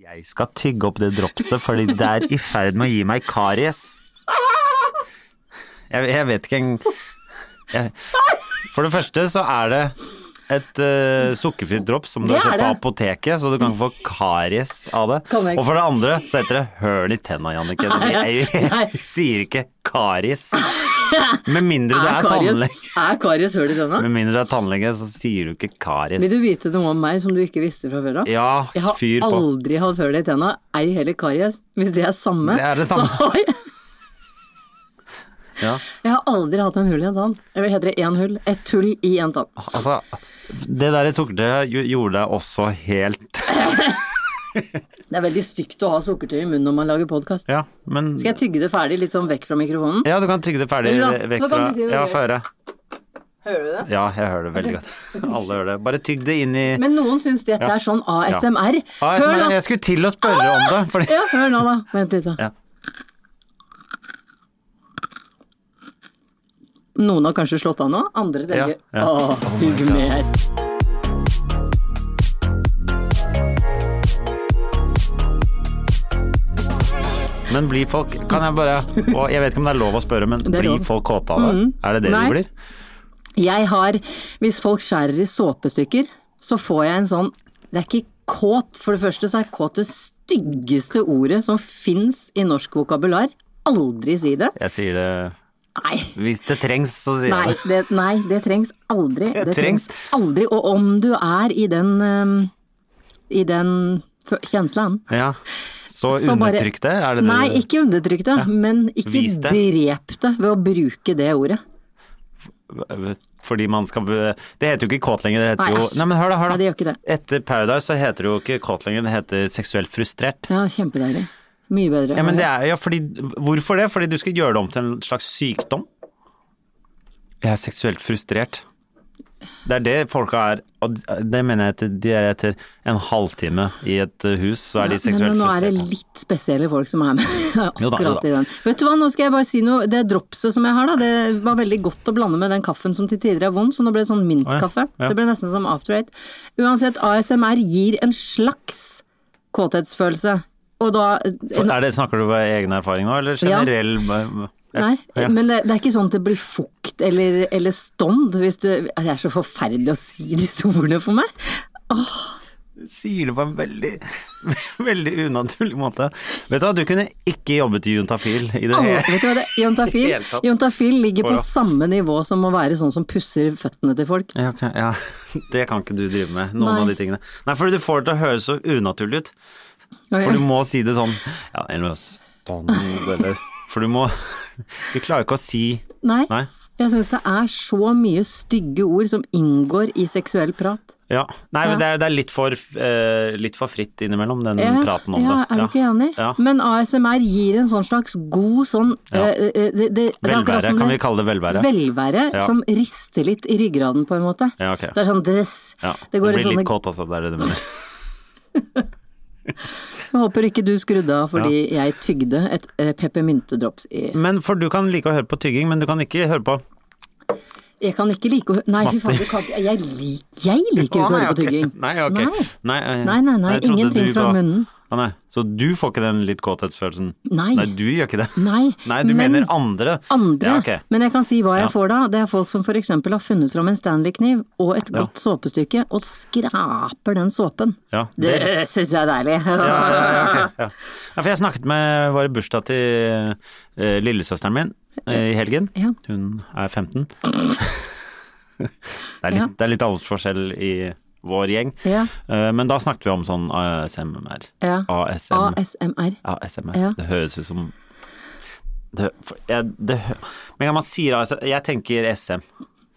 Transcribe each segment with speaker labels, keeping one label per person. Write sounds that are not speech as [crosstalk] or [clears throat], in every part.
Speaker 1: Jeg skal tygge opp det dropset, fordi det er i ferd med å gi meg karies. Jeg, jeg vet ikke en jeg, For det første så er det et uh, sukkerfritt drops som du
Speaker 2: Det
Speaker 1: har kjøpt på
Speaker 2: er
Speaker 1: apoteket, så du kan få karies av det.
Speaker 2: Kan jeg ikke.
Speaker 1: Og for det andre så heter det høl i tenna, Jannicke. Jeg,
Speaker 2: nei.
Speaker 1: jeg sier ikke karies. Med mindre du er tannlege.
Speaker 2: karies- er karies høl i tenna?
Speaker 1: Med mindre du er tannlege, så sier du ikke karies.
Speaker 2: Vil du vite noe om meg som du ikke visste fra før av?
Speaker 1: Ja,
Speaker 2: jeg har
Speaker 1: fyr på.
Speaker 2: aldri hatt høl i tenna, ei heller karies. Hvis det er samme,
Speaker 1: Det er det samme.
Speaker 2: så har jeg
Speaker 1: Ja.
Speaker 2: Jeg har aldri hatt en hull i en tann. Eller heter det én hull? Et hull i en tann.
Speaker 1: Altså, det der sukkertøyet gj- gjorde deg også helt
Speaker 2: Det er veldig stygt å ha sukkertøy i munnen når man lager podkast.
Speaker 1: [laughs] Ja, men
Speaker 2: Skal jeg tygge det ferdig, litt sånn vekk fra mikrofonen?
Speaker 1: Ja, du kan tygge det ferdig
Speaker 2: Ja,
Speaker 1: eh, vekk
Speaker 2: nå kan
Speaker 1: fra
Speaker 2: du si det
Speaker 1: Ja,
Speaker 2: du gjør.
Speaker 1: få høre.
Speaker 2: Hører du det?
Speaker 1: Ja, jeg hører det veldig godt. Alle hører det. Bare tygg det inn i
Speaker 2: Men noen syns dette
Speaker 1: Ja.
Speaker 2: er sånn ASMR.
Speaker 1: ah, jeg, som-
Speaker 2: Hør nå!
Speaker 1: jeg skulle til å spørre om
Speaker 2: [laughs]
Speaker 1: det, fordi
Speaker 2: Ja, hør nå, da. Vent litt, da.
Speaker 1: Ja.
Speaker 2: Noen har kanskje slått av nå, andre tenker
Speaker 1: Ja, ja.
Speaker 2: åh, tygg mer.
Speaker 1: Men blir folk Kan jeg bare og Jeg vet ikke om det er lov å spørre, men
Speaker 2: er
Speaker 1: blir
Speaker 2: lov. Mm.
Speaker 1: folk kåte av det? Er det det
Speaker 2: Nei.
Speaker 1: de blir?
Speaker 2: Jeg har, hvis folk skjærer i såpestykker, så får jeg en sånn Det er ikke kåt. For det første så er kåt det styggeste ordet som fins i norsk vokabular. Aldri si det.
Speaker 1: Jeg sier det
Speaker 2: Nei.
Speaker 1: Hvis det trengs, så sier
Speaker 2: Nei
Speaker 1: jeg det.
Speaker 2: det, nei, det trengs aldri. Det,
Speaker 1: trengs.
Speaker 2: trengs. aldri. Og om du er i den ehm, I den fø- kjenslen
Speaker 1: Ja. Så,
Speaker 2: Så bare-
Speaker 1: undertrykk det? Er det det
Speaker 2: Nei, ikke undertrykk det, men ikke
Speaker 1: Vis det.
Speaker 2: drep det ved å bruke det ordet.
Speaker 1: Fordi man skal be- Det heter jo ikke kåt lenger, det heter
Speaker 2: Nei,
Speaker 1: jo
Speaker 2: æsj.
Speaker 1: Nei, men hør da, hør da.
Speaker 2: Nei, det gjør ikke det.
Speaker 1: Etter Paradise så heter det jo ikke kåt lenger, det heter seksuelt frustrert.
Speaker 2: Ja, kjempedeilig. Mye bedre.
Speaker 1: Ja, men det er, ja, fordi, hvorfor det? Fordi du skal gjøre det om til en slags sykdom? Jeg er seksuelt frustrert. Det er det folka er, og det mener jeg etter, de er etter en halvtime i et hus, så er de seksuelt
Speaker 2: men nå er det
Speaker 1: frustrert.
Speaker 2: litt spesielle folk som er med [laughs] akkurat
Speaker 1: Jo da, jo da.
Speaker 2: i den. Vet du hva, nå skal jeg bare si noe. Det dropset som jeg har da, det var veldig godt å blande med den kaffen som til tider er vond, så nå ble det sånn mintkaffe.
Speaker 1: ja.
Speaker 2: Det ble nesten som after eight. Uansett, ASMR gir en slags kåthetsfølelse. Og da
Speaker 1: For, er det snakker du ved egen erfaring nå, eller
Speaker 2: Ja.
Speaker 1: generell ja.
Speaker 2: Nei,
Speaker 1: ja.
Speaker 2: men det, det er ikke sånn at det blir fukt eller, eller stånd hvis du Det er så forferdelig å si [laughs] disse ordene for meg.
Speaker 1: Sier det på en veldig, [laughs] veldig unaturlig måte. Vet du hva, du kunne ikke jobbet i Juntafil i det
Speaker 2: Alle,
Speaker 1: hele
Speaker 2: vet du hva det
Speaker 1: [laughs]
Speaker 2: Jontafil,
Speaker 1: Helt sant.
Speaker 2: Jontafil ligger
Speaker 1: Å,
Speaker 2: på
Speaker 1: ja.
Speaker 2: samme nivå som å være sånn som pusser føttene til folk.
Speaker 1: Ja, ok, ja, [laughs] det kan ikke du drive med, noen
Speaker 2: Nei.
Speaker 1: av de tingene. Nei, for du får det til å høres så unaturlig ut. For du må si det sånn Ja, eller stand, eller For du må [laughs] Du klarer ikke å si
Speaker 2: Nei.
Speaker 1: Nei.
Speaker 2: Jeg syns det er så mye stygge ord som inngår i seksuell prat.
Speaker 1: Ja. Nei, men det er, det er litt, for, eh, litt for fritt innimellom, den
Speaker 2: Ja,
Speaker 1: praten om
Speaker 2: ja,
Speaker 1: det.
Speaker 2: Er du ikke enig?
Speaker 1: Ja.
Speaker 2: Men ASMR gir en sånn slags god sånn
Speaker 1: Ja.
Speaker 2: eh, eh, det, det, det er
Speaker 1: Velvære,
Speaker 2: akkurat som
Speaker 1: kan
Speaker 2: det-
Speaker 1: vi kalle det velvære?
Speaker 2: Velvære
Speaker 1: Ja.
Speaker 2: som rister litt i ryggraden, på en måte.
Speaker 1: Ja, ok.
Speaker 2: Det er sånn dress.
Speaker 1: Ja,
Speaker 2: Det
Speaker 1: det
Speaker 2: går liksom i
Speaker 1: blir
Speaker 2: sånne
Speaker 1: litt kåt, altså. Det er det du
Speaker 2: [laughs]
Speaker 1: mener.
Speaker 2: Jeg håper ikke du skrudde av fordi jeg tygde et eh, peppermyntedrops i
Speaker 1: Men for du kan like å høre på tygging, men du kan ikke høre på
Speaker 2: Jeg kan ikke like å hø- Nei, fy faen, du kan ikke Jeg, lik, jeg liker jo ikke å høre på tygging.
Speaker 1: Nei, ok.
Speaker 2: Nei.
Speaker 1: eh,
Speaker 2: Nei, nei, nei,
Speaker 1: jeg trodde du
Speaker 2: ingenting fra
Speaker 1: var-
Speaker 2: munnen.
Speaker 1: Å, nei. Så du får ikke den litt kåthetsfølelsen?
Speaker 2: Nei.
Speaker 1: Nei, du gjør ikke det.
Speaker 2: Nei,
Speaker 1: [laughs] Nei, du
Speaker 2: men-
Speaker 1: mener andre.
Speaker 2: Andre.
Speaker 1: Ja, ok.
Speaker 2: Men jeg kan si hva
Speaker 1: Ja.
Speaker 2: jeg får da. Det er folk som f.eks. har funnet fram en Stanley-kniv og et godt såpestykke og skraper den såpen.
Speaker 1: Ja,
Speaker 2: Det, syns jeg er deilig.
Speaker 1: ja, ja, ja, ok, ja. ja, for jeg snakket med var i bursdag til eh, lillesøsteren min eh, i helgen.
Speaker 2: Ja.
Speaker 1: Hun er [laughs] 15. det, er litt,
Speaker 2: Ja.
Speaker 1: det er litt aldersforskjell i vår gjeng.
Speaker 2: Ja.
Speaker 1: Eh, men da snakket vi om sånn ASMR.
Speaker 2: Ja.
Speaker 1: ASM.
Speaker 2: ASMR.
Speaker 1: ASMR.
Speaker 2: Ja.
Speaker 1: Det høres ut som det, for, jeg, det, hø- Men når man sier ASM, jeg altså, tenker SM.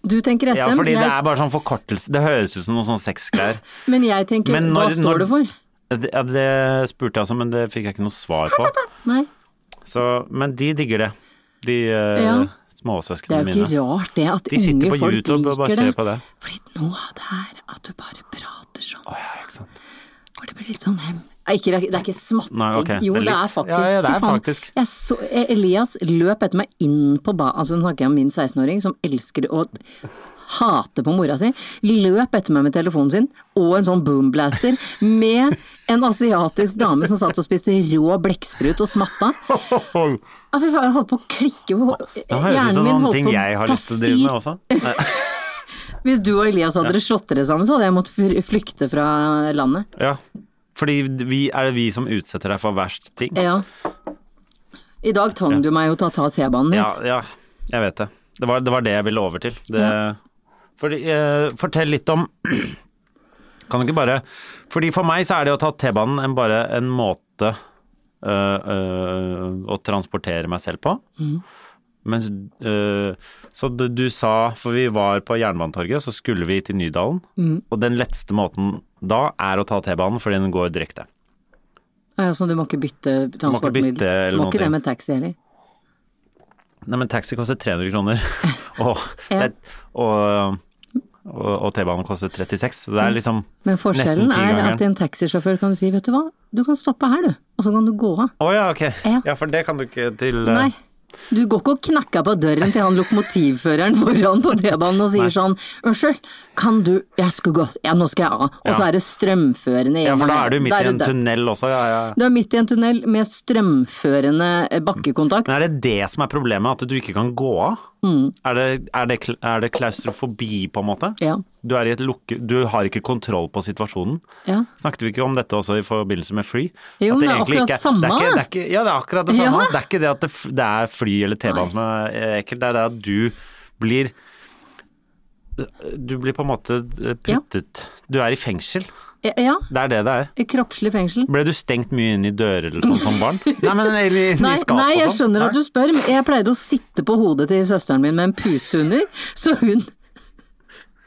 Speaker 2: Du tenker SM,
Speaker 1: Ja, fordi det
Speaker 2: jeg,
Speaker 1: er bare sånn forkortelse. Det høres ut som noen sånn sexgreier.
Speaker 2: men jeg tenker
Speaker 1: Men
Speaker 2: hva
Speaker 1: når-
Speaker 2: står
Speaker 1: når-
Speaker 2: det for?
Speaker 1: Det, ja, det spurte jeg også, men det fikk jeg ikke noe svar på.
Speaker 2: Nei,
Speaker 1: Så, men de digger det. De eh,
Speaker 2: Ja. Det
Speaker 1: småsøsknene
Speaker 2: er jo
Speaker 1: mine.
Speaker 2: ikke rart det, at
Speaker 1: De sitter
Speaker 2: unge
Speaker 1: på
Speaker 2: folk
Speaker 1: YouTube og bare
Speaker 2: liker
Speaker 1: ser
Speaker 2: det.
Speaker 1: på det.
Speaker 2: Fordi noe av det er at du bare prater sånn,
Speaker 1: Å, ja,
Speaker 2: altså.
Speaker 1: ikke sant.
Speaker 2: For det blir litt sånn hem. Nei, ikke, det er ikke smatting.
Speaker 1: Nei, ok,
Speaker 2: Jo,
Speaker 1: det er
Speaker 2: det er
Speaker 1: litt-
Speaker 2: faktisk
Speaker 1: Ja, ja, det er
Speaker 2: Fy faen.
Speaker 1: faktisk.
Speaker 2: Jeg så, eh, Elias løp etter meg inn på ba... Altså, nå snakker jeg om min 16-åring som elsker å hate på mora si. Løp etter meg med telefonen sin og en sånn boomblaster med en asiatisk dame som satt og spiste rå blekksprut og smatta. Ja, fy faen, jeg holdt på å klikke
Speaker 1: Det høres ut
Speaker 2: Hjernen
Speaker 1: som
Speaker 2: min
Speaker 1: sånne
Speaker 2: holdt
Speaker 1: ting
Speaker 2: på
Speaker 1: jeg
Speaker 2: å
Speaker 1: har
Speaker 2: ta
Speaker 1: lyst til å drive med
Speaker 2: fyr.
Speaker 1: også.
Speaker 2: Hvis du og Elias hadde slått dere sammen, så hadde jeg måttet fyr- flykte fra landet.
Speaker 1: Ja. Fordi vi, er det vi som utsetter deg for verst ting?
Speaker 2: Ja. I dag tvang du meg jo til å ta T-banen
Speaker 1: Ja,
Speaker 2: ut.
Speaker 1: ja jeg vet det. Det var, det var det jeg ville over til. Det, fordi, eh, fortell litt om [clears throat] Kan du ikke bare Fordi for meg så er det å ta T-banen en, bare en måte eh, eh, å transportere meg selv på. Mens, eh, så du, du sa, for vi var på Jernbanetorget, så skulle vi til Nydalen. Og den letteste måten da er å ta T-banen, fordi den går direkte.
Speaker 2: Ja, så sånn, du må ikke bytte transportmiddel?
Speaker 1: bytte eller
Speaker 2: Må
Speaker 1: noen
Speaker 2: ikke det
Speaker 1: ting.
Speaker 2: med taxi heller.
Speaker 1: Nei, men taxi koster 300
Speaker 2: [laughs]
Speaker 1: kroner, og,
Speaker 2: Ja.
Speaker 1: det- og, og, og T-banen koster 36, så det er liksom
Speaker 2: Men forskjellen
Speaker 1: nesten
Speaker 2: er at
Speaker 1: tigangeren.
Speaker 2: en taxisjåfør kan si vet du hva, du kan stoppe her du, og så kan du gå av.
Speaker 1: Å ja, ok.
Speaker 2: Ja.
Speaker 1: Ja. for det kan du ikke til eh,
Speaker 2: Nei. Du går ikke og knakker på døren til han lokomotivføreren [laughs] foran på T-banen og sier sånn Unnskyld, kan du Jeg skulle gå Ja, nå skal jeg av. Og så
Speaker 1: Ja.
Speaker 2: er det strømførende
Speaker 1: Ja, for da
Speaker 2: gjennom her.
Speaker 1: er du midt i en
Speaker 2: det-
Speaker 1: tunnel også, ja, ja. ja.
Speaker 2: Du er midt i en tunnel med strømførende eh, bakkekontakt.
Speaker 1: Men er det det som er problemet, at du ikke kan gå av? Er, det, er, det, kla- er det klaustrofobi, på en måte?
Speaker 2: Mm. Ja.
Speaker 1: Du, er i et lukke, du har ikke kontroll på situasjonen.
Speaker 2: Ja.
Speaker 1: Snakket vi ikke om dette også i forbindelse med fly? At
Speaker 2: Jo, men det er
Speaker 1: egentlig
Speaker 2: akkurat
Speaker 1: ikke
Speaker 2: samme.
Speaker 1: Det er ikke, det er ikke, ja, det er akkurat det samme.
Speaker 2: Ja.
Speaker 1: Det er ikke det at det, f- det er fly eller T-banen som er eh, ekkelt, det er det at du blir Du blir på en måte eh, puttet Du er i fengsel.
Speaker 2: Ja, ja.
Speaker 1: Det er det det er.
Speaker 2: Kroppslig fengsel.
Speaker 1: Ble du stengt mye inn i dører eller sånn som barn? Nei, men eller i-
Speaker 2: [laughs] Nei,
Speaker 1: i skap
Speaker 2: nei, jeg
Speaker 1: og sånn?
Speaker 2: skjønner at du spør, men jeg pleide å sitte på hodet til søsteren min med en pute under, så hun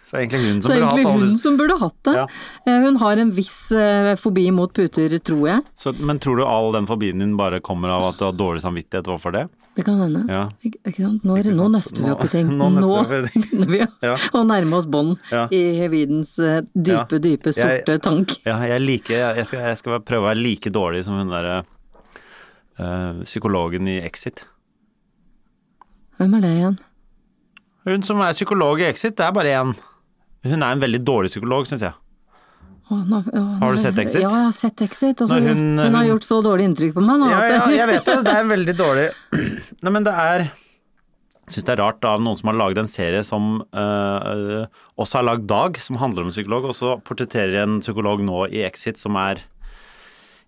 Speaker 1: Så er det egentlig hun som
Speaker 2: Så
Speaker 1: burde
Speaker 2: egentlig
Speaker 1: hatt alle
Speaker 2: hun som burde hatt det.
Speaker 1: Ja.
Speaker 2: Eh, Hun har en viss eh, fobi mot puter, tror jeg.
Speaker 1: så, Men tror du all den fobien din bare kommer av at du har dårlig samvittighet overfor det?
Speaker 2: Det kan hende.
Speaker 1: Ja.
Speaker 2: Ik ikke sant? Nå, nå nøster vi
Speaker 1: Nå-
Speaker 2: opp i ting.
Speaker 1: [laughs] nå
Speaker 2: Nå
Speaker 1: nøster vi opp
Speaker 2: [laughs]
Speaker 1: i ting.
Speaker 2: begynner vi å,
Speaker 1: Ja.
Speaker 2: å nærme oss bånd
Speaker 1: Ja.
Speaker 2: i Videns eh, dype,
Speaker 1: Ja.
Speaker 2: dype
Speaker 1: Jeg-
Speaker 2: sorte tank.
Speaker 1: Ja, jeg, liker, jeg, skal, jeg skal prøve å være like dårlig som hun derre eh, psykologen i Exit.
Speaker 2: Hvem er det igjen?
Speaker 1: Hun som er psykolog i Exit, det er bare én. Hun er en veldig dårlig psykolog, syns jeg.
Speaker 2: Å, nå, å,
Speaker 1: Har du
Speaker 2: nå-
Speaker 1: sett Exit?
Speaker 2: Ja, jeg har sett Exit. Og så,
Speaker 1: Når hun-
Speaker 2: hun, har
Speaker 1: hun-
Speaker 2: gjort så dårlig inntrykk på meg nå.
Speaker 1: Ja,
Speaker 2: at-
Speaker 1: ja,
Speaker 2: [laughs]
Speaker 1: jeg vet det. Det er veldig dårlig [clears throat] Nei, men det er Jeg syns det er rart av noen som har lagd en serie som eh, også har lagd Dag, som handler om en psykolog, og så portretterer en psykolog nå i Exit som er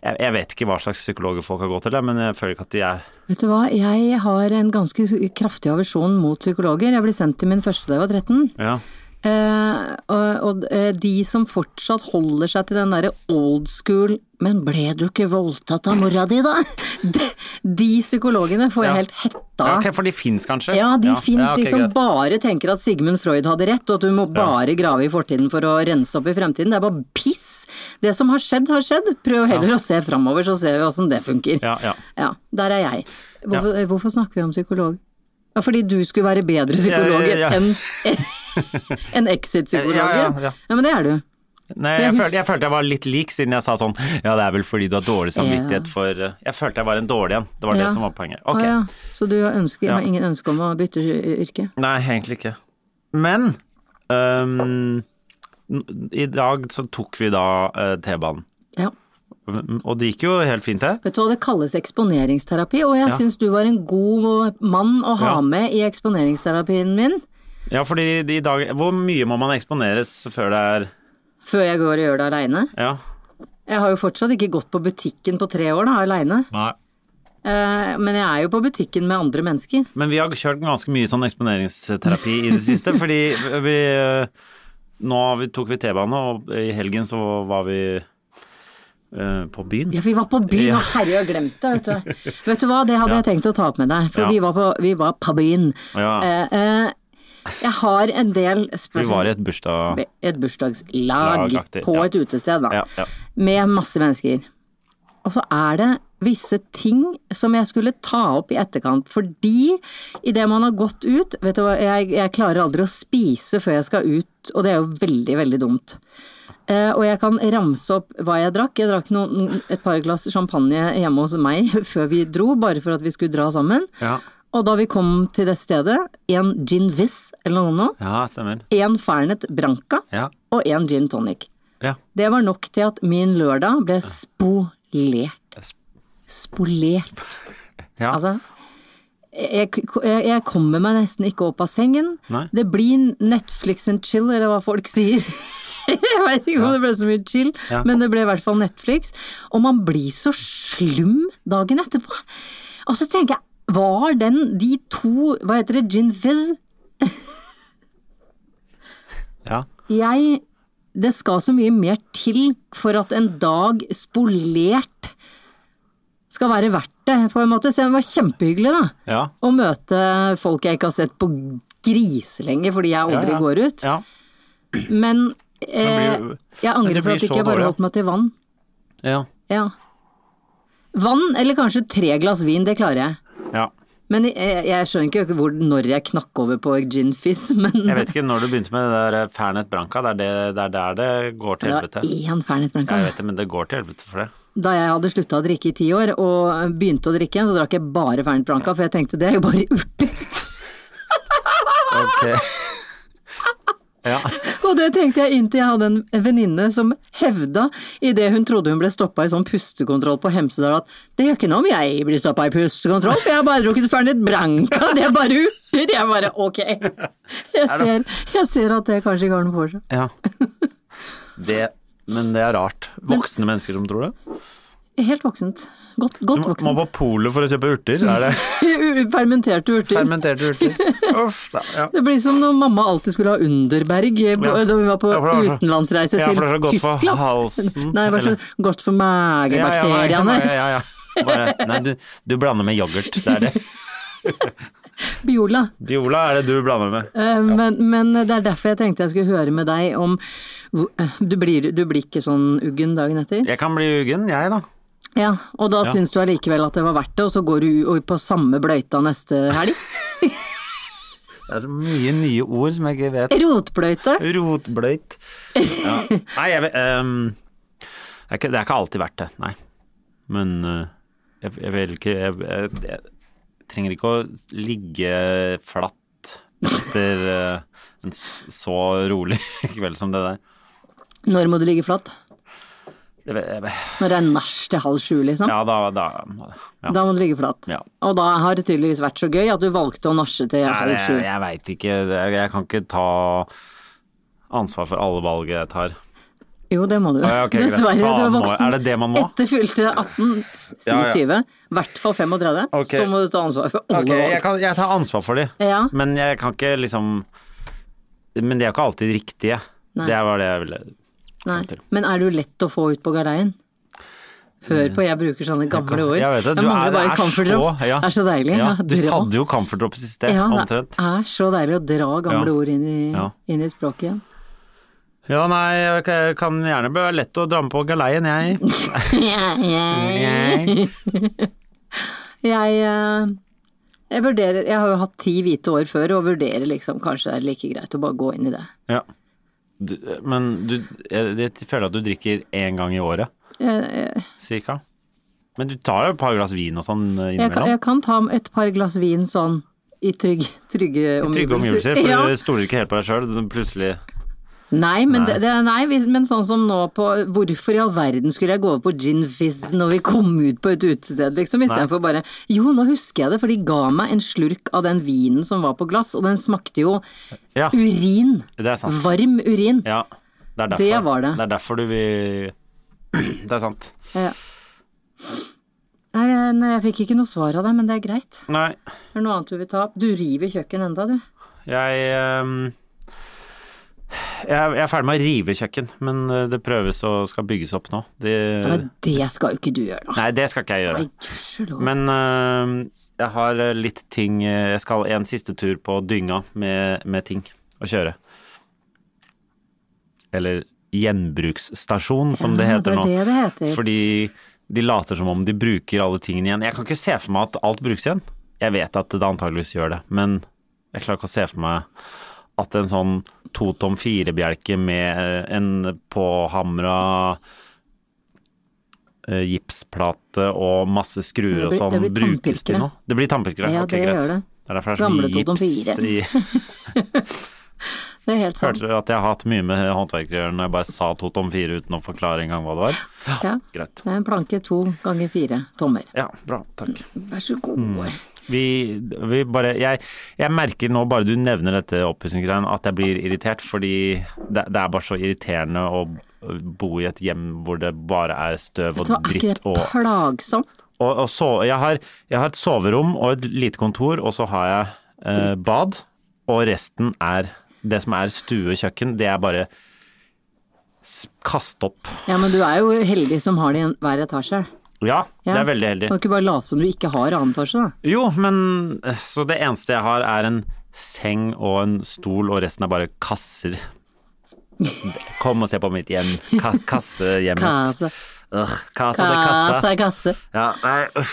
Speaker 1: jeg, jeg vet ikke hva slags psykologer folk har gått til, men jeg føler ikke at de er
Speaker 2: Vet du hva, jeg har en ganske kraftig aversjon mot psykologer. Jeg ble sendt til min første da jeg var 13.
Speaker 1: ja.
Speaker 2: Eh, og, og eh, de som fortsatt holder seg til den derre old school Men ble du ikke voldtatt av mora di, da? [laughs] De, de psykologene får jeg
Speaker 1: Ja.
Speaker 2: helt hetta
Speaker 1: ja
Speaker 2: av.
Speaker 1: ok, For de fins kanskje?
Speaker 2: Ja, de fins,
Speaker 1: ok,
Speaker 2: de som
Speaker 1: greit.
Speaker 2: bare tenker at Sigmund Freud hadde rett, og at du må bare grave i fortiden for å rense opp i fremtiden. Det er bare piss! Det som har skjedd, har skjedd. Prøv heller å se framover, så ser vi åssen det funker.
Speaker 1: Ja, ja.
Speaker 2: Ja, der er jeg. Hvorfor, hvorfor snakker vi om psykolog? Ja, fordi du skulle være bedre psykolog
Speaker 1: [laughs] Ja, ja, ja.
Speaker 2: enn [laughs] enn exit-psykologen.
Speaker 1: Ja, ja, ja.
Speaker 2: men det er du.
Speaker 1: Nei,
Speaker 2: For jeg
Speaker 1: jeg,
Speaker 2: hus-
Speaker 1: følte, jeg følte jeg var litt lik, siden jeg sa sånn Ja, det er vel fordi du har dårlig samvittighet
Speaker 2: Ja.
Speaker 1: for eh, Jeg følte jeg var en dårlig en. Det var
Speaker 2: Ja.
Speaker 1: det som var poenget. Ok.
Speaker 2: Å ja. Så du ønsker,
Speaker 1: Ja.
Speaker 2: har ingen ønske om å bytte y- yrke?
Speaker 1: Nei, egentlig ikke. Men øhm, n- i dag så tok vi da eh, T-banen.
Speaker 2: Ja.
Speaker 1: Og det gikk jo helt fint, det.
Speaker 2: Vet du hva, det kalles eksponeringsterapi, og jeg
Speaker 1: Ja.
Speaker 2: syns du var en god mann å ha
Speaker 1: Ja.
Speaker 2: med i eksponeringsterapien min.
Speaker 1: Ja, fordi i dag Hvor mye må man eksponeres før det er
Speaker 2: Før jeg går og gjør det aleine.
Speaker 1: Ja.
Speaker 2: Jeg har jo fortsatt ikke gått på butikken på tre år, da, aleine.
Speaker 1: Nei.
Speaker 2: Eh, men jeg er jo på butikken med andre mennesker.
Speaker 1: Men vi har kjørt ganske mye sånn eksponeringsterapi i det
Speaker 2: [laughs]
Speaker 1: siste, fordi vi eh, Nå har vi- tok vi T-bane, og i helgen så var vi eh, på byen.
Speaker 2: Ja, vi var på byen,
Speaker 1: Ja.
Speaker 2: og herre, jeg har glemt det, vet
Speaker 1: [laughs]
Speaker 2: du. Vet du hva, det hadde jeg tenkt å ta opp med deg, for
Speaker 1: Ja.
Speaker 2: vi var på, vi var på byen.
Speaker 1: Ja.
Speaker 2: Eh, eh, Jeg har en del
Speaker 1: Vi var
Speaker 2: spørsmål.
Speaker 1: i et bursdag...
Speaker 2: Et bursdagslag
Speaker 1: Lagaktig,
Speaker 2: på
Speaker 1: ja.
Speaker 2: et utested, da.
Speaker 1: Ja, ja.
Speaker 2: Med masse mennesker. Og så er det visse ting som jeg skulle ta opp i etterkant, fordi idet man har gått ut Vet du hva, jeg, jeg klarer aldri å spise før jeg skal ut, og det er jo veldig, veldig dumt. Eh, og jeg kan ramse opp hva jeg drakk. Jeg drakk noen, et par glass champagne hjemme hos meg [laughs] før vi dro, bare for at vi skulle dra sammen.
Speaker 1: Ja.
Speaker 2: Og da vi kom til det stedet, en gin fizz eller noe nå,
Speaker 1: Ja, stemmer.
Speaker 2: en Fernet Branca
Speaker 1: Ja.
Speaker 2: og en gin tonic.
Speaker 1: ja.
Speaker 2: Det var nok til at min lørdag ble spolert. Spolert.
Speaker 1: Ja.
Speaker 2: Altså, jeg, jeg, jeg kommer meg nesten ikke opp av sengen.
Speaker 1: Nei.
Speaker 2: Det blir Netflix and chill, eller hva folk sier. [laughs] jeg veit ikke om det ble så mye chill,
Speaker 1: Ja.
Speaker 2: men det ble i hvert fall Netflix. Og man blir så slum dagen etterpå. Og så tenker jeg, var den de to, hva heter det, gin fizz?
Speaker 1: ja.
Speaker 2: Jeg Det skal så mye mer til for at en dag spolert skal være verdt det, på en måte. Så det var kjempehyggelig, da.
Speaker 1: Ja.
Speaker 2: Å møte folk jeg ikke har sett på griselenge fordi jeg aldri
Speaker 1: ja.
Speaker 2: går ut.
Speaker 1: Ja.
Speaker 2: Men eh,
Speaker 1: Men blir-
Speaker 2: jeg
Speaker 1: men
Speaker 2: angrer
Speaker 1: det
Speaker 2: for
Speaker 1: blir
Speaker 2: at jeg
Speaker 1: så
Speaker 2: ikke bare
Speaker 1: dårlig,
Speaker 2: holdt meg til vann.
Speaker 1: Ja.
Speaker 2: Ja. Vann eller kanskje tre glass vin, det klarer jeg.
Speaker 1: ja.
Speaker 2: Men jeg, jeg skjønner ikke hvor, når jeg knakk over på gin fizz, men
Speaker 1: Jeg vet ikke når du begynte med det der eh, Fernet Branca, det er, det, det er der det går til
Speaker 2: det var
Speaker 1: helvete.
Speaker 2: én Fernet
Speaker 1: Ja,
Speaker 2: Branca.
Speaker 1: jeg vet det, men det går til helvete
Speaker 2: [laughs]
Speaker 1: for det.
Speaker 2: Da jeg hadde slutta å drikke i ti år og begynte å drikke igjen, så drakk jeg bare Fernet Branca, for jeg tenkte det er jo bare [laughs] urter.
Speaker 1: Ok.
Speaker 2: [laughs]
Speaker 1: Ja.
Speaker 2: Og det tenkte jeg inntil jeg hadde en venninne som hevda, idet hun trodde hun ble stoppa i sånn pustekontroll på Hemsedal, at det gjør ikke noe om jeg blir stoppa i pustekontroll, for jeg har bare drukket Fernet Branca, det er bare urter. Jeg bare ok. Jeg ser, jeg ser at det kanskje ikke har noe for seg.
Speaker 1: ja. [laughs] Det, men det er rart. Voksne mennesker som tror det.
Speaker 2: Helt voksent. Godt, godt
Speaker 1: Du må- må
Speaker 2: voksent. [laughs]
Speaker 1: på polet for å kjøpe urter. Er det
Speaker 2: Fermenterte urter.
Speaker 1: [laughs] fermenterte urter? Uff da. Ja.
Speaker 2: Det blir som når mamma alltid skulle ha underberg eh, på,
Speaker 1: Ja.
Speaker 2: da vi var på
Speaker 1: Ja, for det var så-
Speaker 2: utenlandsreise
Speaker 1: Ja, for det var
Speaker 2: til
Speaker 1: godt for
Speaker 2: Tyskland.
Speaker 1: halsen,
Speaker 2: Nei, det var så godt for
Speaker 1: Ja, ja, nei,
Speaker 2: magebakteriene.
Speaker 1: Ja, ja, ja. Bare, nei, du, du blander med yoghurt, det er det.
Speaker 2: Biola.
Speaker 1: Biola er det du blander med.
Speaker 2: Eh, Men, men det er derfor jeg tenkte jeg skulle høre med deg om hvor- eh, Du blir, du blir ikke sånn uggen dagen etter?
Speaker 1: Jeg kan bli uggen, jeg da.
Speaker 2: Ja. Og da syns du allikevel at det var verdt det, og så går du u- på samme bløyta neste
Speaker 1: [laughs]
Speaker 2: helg?
Speaker 1: Det er så mye nye ord som jeg ikke vet.
Speaker 2: Rotbløyte?
Speaker 1: Rotbløyt. Ja. Nei, jeg vet ehm, det, er ikke, det er ikke alltid verdt det, nei. Men eh, jeg, jeg vil ikke jeg, jeg, jeg trenger ikke å ligge flatt etter eh, en s- så rolig [laughs] kveld som det der.
Speaker 2: Når må du ligge flatt?
Speaker 1: Jeg, vet- jeg, vet-
Speaker 2: Når det er nach til halv sju, liksom?
Speaker 1: ja, da, da ja.
Speaker 2: Da må du ligge flatt.
Speaker 1: Ja.
Speaker 2: Og da har det tydeligvis vært så gøy at du valgte å nasje til
Speaker 1: Nei,
Speaker 2: halv
Speaker 1: det,
Speaker 2: sju.
Speaker 1: jeg veit ikke. Det, jeg kan ikke ta ansvar for alle valget jeg tar.
Speaker 2: Jo, det må du.
Speaker 1: ja, ok, greit.
Speaker 2: Dessverre, du er
Speaker 1: Faen, må-
Speaker 2: voksen.
Speaker 1: er det det man må?
Speaker 2: Etter fylte 18, si
Speaker 1: Ja, ja.
Speaker 2: 20, i hvert fall 35,
Speaker 1: Ok.
Speaker 2: så må du ta ansvar for alle
Speaker 1: Ok, jeg,
Speaker 2: valg.
Speaker 1: kan, jeg tar ansvar for de,
Speaker 2: Ja.
Speaker 1: men jeg kan ikke liksom Men de er jo ikke alltid riktige.
Speaker 2: Nei.
Speaker 1: Det var det jeg ville
Speaker 2: Nei. Men er du lett å få ut på gardeien? Hør på, jeg bruker sånne gamle ord.
Speaker 1: Jeg vet det.
Speaker 2: Jeg
Speaker 1: du
Speaker 2: mangler
Speaker 1: er, det
Speaker 2: bare
Speaker 1: er
Speaker 2: comfort
Speaker 1: så-
Speaker 2: drops.
Speaker 1: ja.
Speaker 2: Det er så deilig.
Speaker 1: Ja,
Speaker 2: Ja,
Speaker 1: du
Speaker 2: dra.
Speaker 1: hadde jo comfort drops i sted,
Speaker 2: ja,
Speaker 1: omtrent.
Speaker 2: Det er så deilig å dra gamle
Speaker 1: Ja.
Speaker 2: ord inn i,
Speaker 1: Ja.
Speaker 2: inn i språket igjen.
Speaker 1: Ja, nei, jeg kan- jeg kan gjerne være lett å dra med på galeien,
Speaker 2: [laughs]
Speaker 1: jeg. jeg.
Speaker 2: Jeg, eh, jeg vurderer Jeg har jo hatt ti hvite år før, og vurderer liksom kanskje det er like greit å bare gå inn i det.
Speaker 1: Ja. Du, men du jeg, jeg føler at du drikker én gang i året,
Speaker 2: Jeg,
Speaker 1: cirka. Men du tar jo et par glass vin og sånn
Speaker 2: jeg, kan,
Speaker 1: innimellom.
Speaker 2: jeg kan ta et par glass vin sånn i trygg, trygge omgivelser.
Speaker 1: Trygge omgivelser, for
Speaker 2: Ja.
Speaker 1: du stoler ikke helt på deg sjøl. Plutselig
Speaker 2: Nei, men, det, det, nei, hvis- men sånn som nå på Hvorfor i all verden skulle jeg gå over på gin fizz når vi kom ut på et utested, liksom? Istedenfor bare Jo, nå husker jeg det, for de ga meg en slurk av den vinen som var på glass, og den smakte jo
Speaker 1: Ja, det
Speaker 2: urin.
Speaker 1: er sant.
Speaker 2: Varm urin.
Speaker 1: Ja, det er derfor.
Speaker 2: Det var det.
Speaker 1: Det er derfor du vil Det er sant.
Speaker 2: Ja. Nei, men jeg fikk ikke noe svar av deg, men det er greit.
Speaker 1: Nei,
Speaker 2: Er det noe annet du vil ta opp? Du river kjøkken enda, du.
Speaker 1: jeg ehm, jeg, jeg er ferdig med å rive kjøkken, men eh, det prøves og skal bygges opp nå. Det,
Speaker 2: Ja, men det skal jo ikke du gjøre, da.
Speaker 1: nei, det skal ikke jeg gjøre.
Speaker 2: Nei, gudskjelov.
Speaker 1: Men ehm, Jeg har eh, litt ting eh, Jeg skal en siste tur på dynga med, med ting å kjøre. Eller gjenbruksstasjon, som det
Speaker 2: Ja, det
Speaker 1: heter
Speaker 2: er
Speaker 1: nå.
Speaker 2: det det heter.
Speaker 1: Fordi de later som om de bruker alle tingene igjen. Jeg kan ikke se for meg at alt brukes igjen. Jeg vet at det antageligvis gjør det, men jeg klarer ikke å se for meg at en sånn to tom fire-bjelke med eh, en påhamra eh, gipsplate og masse skruer
Speaker 2: Det
Speaker 1: og
Speaker 2: blir-
Speaker 1: sånn
Speaker 2: det blir
Speaker 1: brukes til
Speaker 2: tannpirkere.
Speaker 1: noe. Det blir tannpirkere?
Speaker 2: Ja,
Speaker 1: ok,
Speaker 2: det
Speaker 1: greit.
Speaker 2: gjør det.
Speaker 1: Det er derfor det er så
Speaker 2: Gamle
Speaker 1: mye
Speaker 2: to tom
Speaker 1: gips i
Speaker 2: Det er helt sant.
Speaker 1: Hørte dere at [laughs] jeg har hatt mye med håndverkere å gjøre når jeg bare sa to tom fire uten å forklare engang hva det var?
Speaker 2: Ja.
Speaker 1: Greit.
Speaker 2: Det er en planke to ganger fire tommer.
Speaker 1: Ja, bra. Takk.
Speaker 2: Vær så god.
Speaker 1: Mm, Vi, vi bare jeg, jeg merker nå, bare du nevner dette oppussingsgreien, at jeg blir irritert. Fordi det, det er bare så irriterende å bo i et hjem hvor det bare er støv og
Speaker 2: Så er ikke
Speaker 1: dritt
Speaker 2: det
Speaker 1: og
Speaker 2: plagsomt?
Speaker 1: og, og så, jeg, har, jeg har et soverom og et lite kontor, og så har jeg eh, bad. Og resten er Det som er stue og kjøkken, det er bare s- kast opp.
Speaker 2: Ja, men du er jo heldig som har det i en- hver etasje.
Speaker 1: Ja,
Speaker 2: Ja.
Speaker 1: det er veldig heldig.
Speaker 2: Kan du ikke bare late som du ikke har annen etasje, da?
Speaker 1: Jo, men eh, Så det eneste jeg har, er en seng og en stol, og resten er bare kasser. Kom og se på mitt hjem. Ka Kassehjemmet.
Speaker 2: Kase.
Speaker 1: Ugh, kassa, det er
Speaker 2: Kase
Speaker 1: kassa.
Speaker 2: er kasse.
Speaker 1: Ja, nei, uff.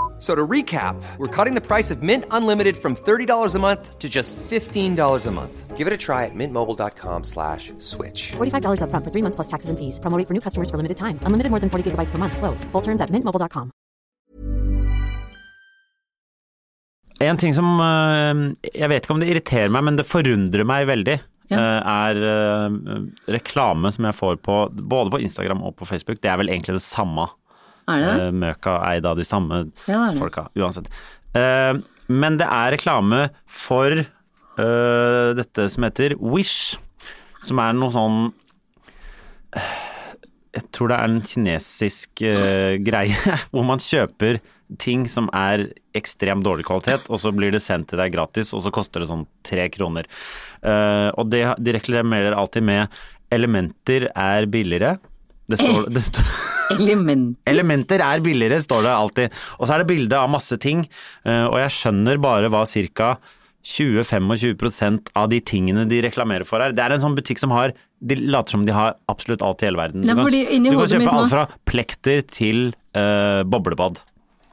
Speaker 3: So to recap, we're cutting the price of Mint Unlimited from $30 a month to just $15 a month. Give it a try at mintmobile.com slash switch.
Speaker 4: $45 upfront for three months plus taxes and fees. Promoting for new customers for limited time. Unlimited more than 40 gigabytes per month. Slows. Full terms at mintmobile.com.
Speaker 1: En ting som eh, Jeg vet ikke om det irriterer meg, men det forundrer meg veldig.
Speaker 2: Ja.
Speaker 1: eh, Er eh, reklame som jeg får på både på Instagram og på Facebook. Det er vel egentlig det samme.
Speaker 2: Er det det?
Speaker 1: Eh, Møka er eid av de samme
Speaker 2: Ja, det er det.
Speaker 1: folka, uansett. Eh, Men det er reklame for eh, dette som heter Wish, som er noe sånn eh, Jeg tror det er en kinesisk eh, [laughs] greie hvor man kjøper ting som er ekstremt dårlig kvalitet, og så blir det sendt til deg gratis, og så koster det sånn tre kroner. Eh, og det, de reklamerer alltid med 'elementer er billigere'. Det står, det står [laughs]
Speaker 2: Element.
Speaker 1: Elementer er billigere, står det alltid. Og så er det bilde av masse ting, eh, og jeg skjønner bare hva ca. 20-25 av de tingene de reklamerer for her. Det er en sånn butikk som har De later som de har absolutt alt i hele verden.
Speaker 2: Nei,
Speaker 1: du kan,
Speaker 2: fordi
Speaker 1: du
Speaker 2: inni
Speaker 1: kan
Speaker 2: hodet mitt
Speaker 1: kjøpe
Speaker 2: nå-
Speaker 1: alt fra plekter til eh, boblebad.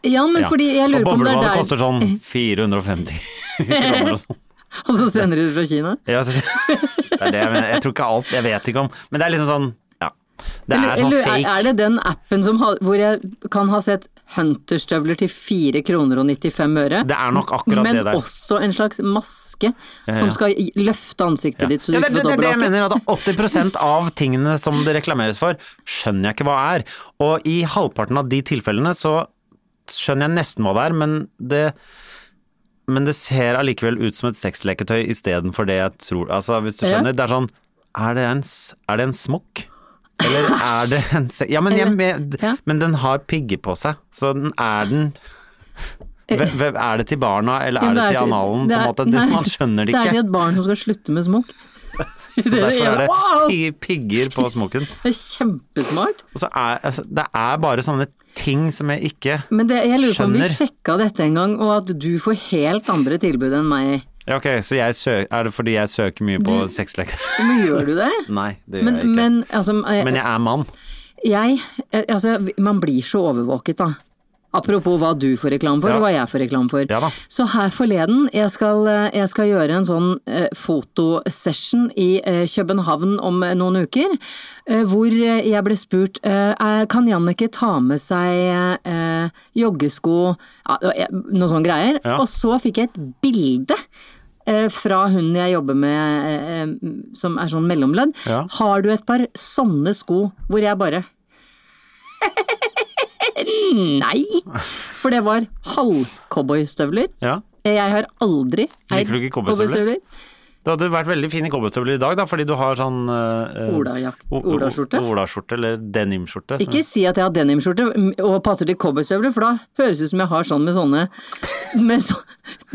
Speaker 2: Ja, men
Speaker 1: Ja.
Speaker 2: fordi jeg lurer
Speaker 1: og
Speaker 2: på om det er
Speaker 1: boblebadet
Speaker 2: der
Speaker 1: koster sånn 450 kroner og sånn.
Speaker 2: [laughs] Og så sender du det fra Kina?
Speaker 1: Ja,
Speaker 2: [laughs]
Speaker 1: så, det er det jeg mener. Jeg tror ikke alt Jeg vet ikke om Men det er liksom sånn Ja. Det
Speaker 2: Eller-
Speaker 1: er sånn
Speaker 2: eller
Speaker 1: fake.
Speaker 2: er det den appen som har, hvor jeg kan ha sett Hunterstøvler til 4 kroner og 95 øre?
Speaker 1: Det er nok akkurat
Speaker 2: men
Speaker 1: det der.
Speaker 2: også en slags maske som
Speaker 1: ja.
Speaker 2: skal i- løfte ansiktet ditt så du
Speaker 1: Ja, det,
Speaker 2: ikke
Speaker 1: det,
Speaker 2: får
Speaker 1: det er det jeg
Speaker 2: dobbelthake.
Speaker 1: mener, at 80 av tingene som det reklameres for, skjønner jeg ikke hva er. Og i halvparten av de tilfellene så skjønner jeg nesten hva det er, men det men det ser allikevel ut som et sexleketøy istedenfor det jeg tror Altså, hvis du
Speaker 2: Ja.
Speaker 1: skjønner, det er sånn Er det en, s- er det en smokk? Eller er det en se... Ja, men, jeg, men-
Speaker 2: Ja.
Speaker 1: men den har pigger på seg, så den er den Hvem- hvem- Er det til barna, eller
Speaker 2: Eh. Ja,
Speaker 1: er det til
Speaker 2: til-
Speaker 1: analen? På
Speaker 2: det
Speaker 1: en
Speaker 2: er-
Speaker 1: måte, det,
Speaker 2: nei,
Speaker 1: man skjønner det ikke.
Speaker 2: Det er til et barn som skal slutte med smokk.
Speaker 1: [laughs] Så derfor er det
Speaker 2: Wow!
Speaker 1: pi- pigger på smokken.
Speaker 2: Det er kjempesmart.
Speaker 1: Og så er altså, det er bare sånne ting som jeg ikke
Speaker 2: Men det, jeg lurer på om vi
Speaker 1: Skjønner.
Speaker 2: sjekka dette en gang, og at du får helt andre tilbud enn meg.
Speaker 1: Ja, ok, så jeg sø- er det fordi jeg søker mye på sexlek?
Speaker 2: [laughs] Men gjør du det?
Speaker 1: Nei, det gjør
Speaker 2: Men,
Speaker 1: jeg ikke. Men,
Speaker 2: men altså
Speaker 1: jeg er mann.
Speaker 2: Jeg, eh, altså, man blir så overvåket da. Apropos hva du får reklame for,
Speaker 1: Ja.
Speaker 2: og hva jeg får reklame for.
Speaker 1: Ja da.
Speaker 2: så her forleden, jeg skal, eh, jeg skal gjøre en sånn eh, fotosession i eh, København om eh, noen uker, eh, hvor eh, jeg ble spurt eh, eh, kan Jannicke ta med seg eh, joggesko, ja, eh, noen sånne greier.
Speaker 1: Ja.
Speaker 2: Og så fikk jeg et bilde. eh, Fra hun jeg jobber med, eh, eh, som er sånn mellomledd.
Speaker 1: Ja.
Speaker 2: Har du et par sånne sko hvor jeg bare Nei! For det var halvcowboystøvler.
Speaker 1: Ja.
Speaker 2: Jeg har aldri eid
Speaker 1: Liker du ikke cowboystøvler?
Speaker 2: cowboystøvler.
Speaker 1: Det hadde vært veldig fine cowboystøvler i dag, da, fordi du har sånn eh,
Speaker 2: Olajakk-
Speaker 1: o- o-
Speaker 2: olaskjorte?
Speaker 1: Olaskjorte eller denimskjorte.
Speaker 2: Ikke si at jeg har denimskjorte mm, og passer til cowboystøvler, for da høres det ut som jeg har sånn med sånne med så,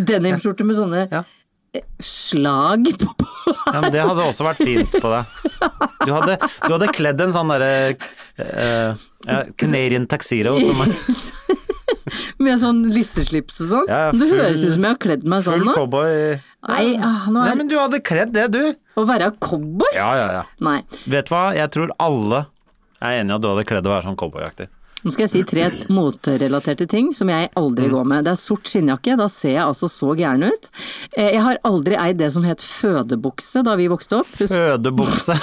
Speaker 2: Denimskjorte med sånne
Speaker 1: Ja.
Speaker 2: eh, slag på, på
Speaker 1: Ja, men det hadde også vært fint på deg. Du hadde, du hadde kledd en sånn derre eh, ja, Canadian tuxedo. Som er
Speaker 2: Med sånn lisseslips og sånn.
Speaker 1: Ja,
Speaker 2: det
Speaker 1: full-
Speaker 2: høres ut som jeg har kledd meg sånn
Speaker 1: full
Speaker 2: nå.
Speaker 1: cowboy.
Speaker 2: Nei, ah, nå
Speaker 1: Nei,
Speaker 2: er
Speaker 1: men du hadde kledd det, du.
Speaker 2: Å være cowboy?
Speaker 1: Ja, ja, ja.
Speaker 2: Nei.
Speaker 1: Vet du hva, jeg tror alle er enige i at du hadde kledd å være sånn cowboyaktig.
Speaker 2: Nå skal jeg si tre moterelaterte ting som jeg aldri
Speaker 1: Mm.
Speaker 2: går med. Det er sort skinnjakke, da ser jeg altså så gæren ut. Eh, Jeg har aldri eid det som het fødebukse da vi vokste opp. Husk- [laughs]
Speaker 1: Fødebukse.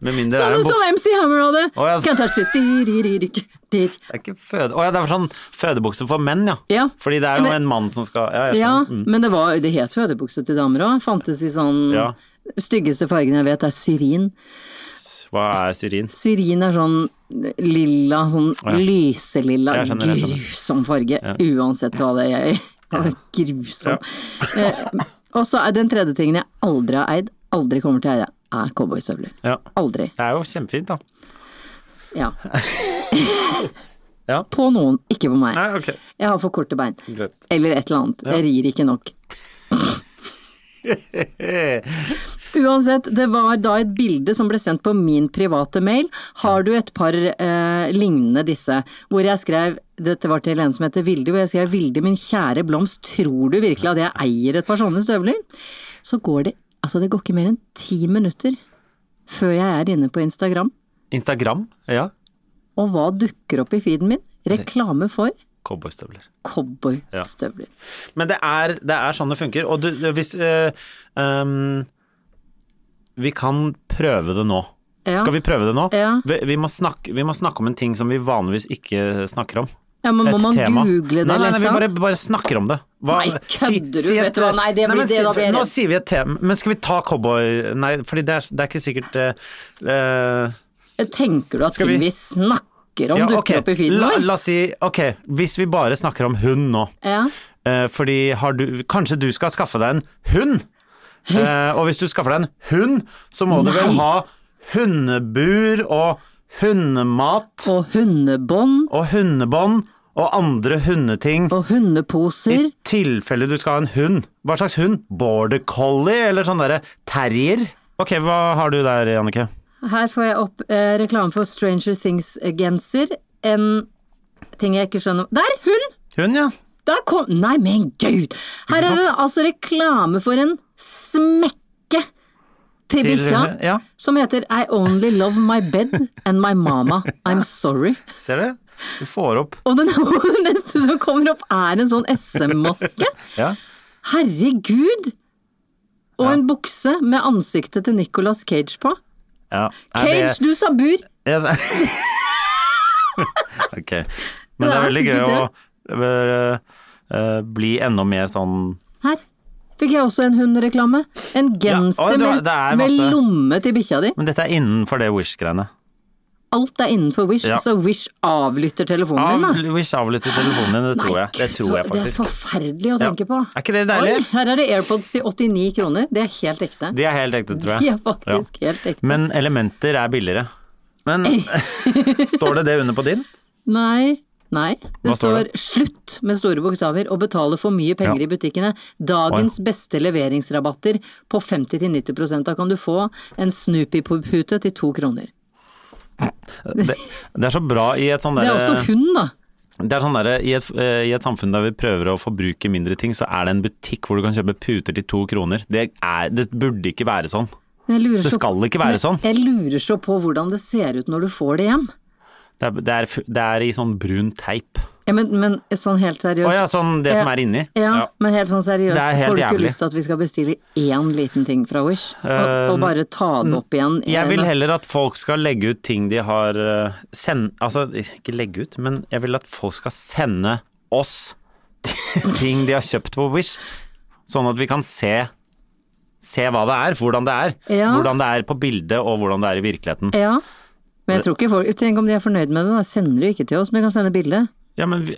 Speaker 1: Med mindre det er
Speaker 2: Samme
Speaker 1: en
Speaker 2: som
Speaker 1: bukse.
Speaker 2: MC Hammer hadde!
Speaker 1: Å, ja, så-
Speaker 2: Can't touch it. Di-di-di-di-di. Di.
Speaker 1: Det er ikke føde... Å ja, det er sånn fødebukse for menn, ja.
Speaker 2: Ja.
Speaker 1: Fordi det er jo
Speaker 2: Men-
Speaker 1: en mann som skal Ja, jeg
Speaker 2: Ja,
Speaker 1: skjønner.
Speaker 2: men det, var, det het fødebukse til damer òg. Fantes i sånn
Speaker 1: Ja.
Speaker 2: Styggeste fargen jeg vet er syrin.
Speaker 1: Hva er syrin?
Speaker 2: Syrin er sånn lilla, sånn lyselilla,
Speaker 1: Jeg skjønner, jeg skjønner.
Speaker 2: grusom farge. Uansett hva det er. Grusom. Eh, og så er den tredje tingen jeg aldri har eid, aldri kommer til å eie, er cowboystøvler.
Speaker 1: Ja.
Speaker 2: Aldri.
Speaker 1: Det er jo kjempefint, da.
Speaker 2: Ja.
Speaker 1: [laughs] Ja.
Speaker 2: På noen, ikke på meg.
Speaker 1: Nei, ok.
Speaker 2: Jeg har for korte bein.
Speaker 1: Greit.
Speaker 2: Eller et eller annet. Jeg rir ikke nok. Uansett, det var da et bilde som ble sendt på min private mail. Har du et par eh, lignende disse? Hvor jeg skrev, dette var til en som heter Vilde, hvor jeg skrev Vilde, min kjære blomst, tror du virkelig at jeg eier et par sånne støvler? Så går det, altså det går ikke mer enn ti minutter før jeg er inne på Instagram.
Speaker 1: [laughs] Instagram? Ja.
Speaker 2: Og hva dukker opp i feeden min? Reklame for
Speaker 1: Cowboystøvler.
Speaker 2: cowboystøvler.
Speaker 1: Men det er, det er sånn det funker. Og du, du- hvis eh, ehm, Vi kan prøve det nå.
Speaker 2: Ja.
Speaker 1: Skal vi prøve det nå?
Speaker 2: Ja.
Speaker 1: Vi, vi, må snakke, vi må snakke om en ting som vi vanligvis ikke snakker om.
Speaker 2: Ja, men må
Speaker 1: Et
Speaker 2: man
Speaker 1: tema.
Speaker 2: google det,
Speaker 1: Nei, nei, nei, vi
Speaker 2: eller
Speaker 1: bare,
Speaker 2: sant?
Speaker 1: bare snakker om det. Hva-
Speaker 2: Nei, kødder du, vet du hva? Nei, det blir-
Speaker 1: men
Speaker 2: det-
Speaker 1: si-
Speaker 2: da blir jeg
Speaker 1: Nå
Speaker 2: redd.
Speaker 1: sier vi et tema, men skal vi ta cowboy... Nei, fordi det er, det er ikke sikkert eh, eh,
Speaker 2: Tenker du at
Speaker 1: Skal vi-
Speaker 2: ting vi snakker om
Speaker 1: ja,
Speaker 2: dukker
Speaker 1: ok.
Speaker 2: opp i feeden
Speaker 1: La,
Speaker 2: vår?
Speaker 1: la oss si, ok, hvis vi bare snakker om hund nå.
Speaker 2: Ja.
Speaker 1: Eh, fordi har du, kanskje du skal skaffe deg en hund? Eh, og hvis du skaffer deg en hund, så må du vel ha hundebur og hundemat
Speaker 2: Og hundebånd
Speaker 1: og hundebånd og andre hundeting.
Speaker 2: og hundeposer.
Speaker 1: I tilfelle du skal ha en hund. Hva slags hund? Border collie eller sånn derre terrier? Ok, hva har du der, Jannicke?
Speaker 2: Her får jeg opp eh, reklame for Stranger Things-genser. En ting jeg ikke skjønner Der! Hun!
Speaker 1: Hund, ja.
Speaker 2: Der kom Nei, men gud! Her er det altså reklame for en smekke til
Speaker 1: Til-
Speaker 2: bikkja
Speaker 1: ja.
Speaker 2: som heter I only love my bed and my mama. I'm sorry.
Speaker 1: Ser du? Du får opp.
Speaker 2: Og den, [laughs] den neste som kommer opp, er en sånn SM-maske.
Speaker 1: Ja.
Speaker 2: Herregud! Og en bukse med ansiktet til Nicolas Cage på.
Speaker 1: ja. Er det-
Speaker 2: Cage, du sa bur!
Speaker 1: Jeg [laughs] sa- ok. Men det er
Speaker 2: Det er
Speaker 1: veldig gøy å
Speaker 2: sikkert
Speaker 1: eh, eh, bli enda mer sånn
Speaker 2: Her fikk jeg også en hundreklame. En genser
Speaker 1: oi, du har-
Speaker 2: med,
Speaker 1: det er
Speaker 2: med
Speaker 1: masse-
Speaker 2: lomme til bikkja di.
Speaker 1: Men dette er innenfor det Wish-greiene.
Speaker 2: Alt er innenfor Wish,
Speaker 1: Ja.
Speaker 2: så Wish avlytter telefonen
Speaker 1: Av,
Speaker 2: din, da.
Speaker 1: wish avlytter telefonen din, det tror jeg. Det
Speaker 2: Gud,
Speaker 1: tror jeg
Speaker 2: så- Det er
Speaker 1: faktisk.
Speaker 2: forferdelig å tenke på.
Speaker 1: Er ikke det deilig?
Speaker 2: Oi, her er det AirPods til 89 kroner. Det er helt ekte.
Speaker 1: De er helt ekte,
Speaker 2: [laughs]
Speaker 1: tror jeg.
Speaker 2: De er faktisk
Speaker 1: Ja.
Speaker 2: helt ekte.
Speaker 1: Men elementer er billigere. [laughs] Men står det det under på din?
Speaker 2: Nei. Nei. Det
Speaker 1: Hva står
Speaker 2: står 'slutt' med store bokstaver og betale for mye penger
Speaker 1: Ja.
Speaker 2: i butikkene. Dagens beste leveringsrabatter på 50-90 Da kan du få en Snoopy-pute til to kroner.
Speaker 1: Det, det er så bra i et sånn
Speaker 2: Det er også
Speaker 1: derre
Speaker 2: hund, da.
Speaker 1: Det er sånn derre i, et- eh, I et samfunn der vi prøver å forbruke mindre ting, så er det en butikk hvor du kan kjøpe puter til to kroner. Det, er, det burde ikke være sånn.
Speaker 2: Men Jeg lurer
Speaker 1: Det
Speaker 2: så-
Speaker 1: skal ikke være
Speaker 2: Men
Speaker 1: sånn.
Speaker 2: Jeg lurer så på hvordan det ser ut når du får det hjem.
Speaker 1: Det er, det er, f- det er i sånn brun teip.
Speaker 2: Ja, men, men sånn helt seriøst.
Speaker 1: Å ja, sånn det som
Speaker 2: Ja.
Speaker 1: er inni.
Speaker 2: Ja,
Speaker 1: Ja.
Speaker 2: men helt sånn seriøst,
Speaker 1: Det er helt
Speaker 2: får du ikke
Speaker 1: jævlig.
Speaker 2: lyst til at vi skal bestille én liten ting fra Wish? Og, og bare ta det opp igjen? i
Speaker 1: Um, Jeg vil
Speaker 2: en-
Speaker 1: heller at folk skal legge ut ting de har eh, send, Altså, ikke legge ut, men jeg vil at folk skal sende oss [laughs] ting de har kjøpt på Wish, sånn at vi kan se Se hva det er, hvordan det er.
Speaker 2: Ja.
Speaker 1: Hvordan det er på bildet og hvordan det er i virkeligheten.
Speaker 2: Ja. Men jeg tror ikke folk Tenk om de er fornøyd med det, da. Sender de ikke til oss, men de kan sende bilde.
Speaker 1: Ja, men, vi,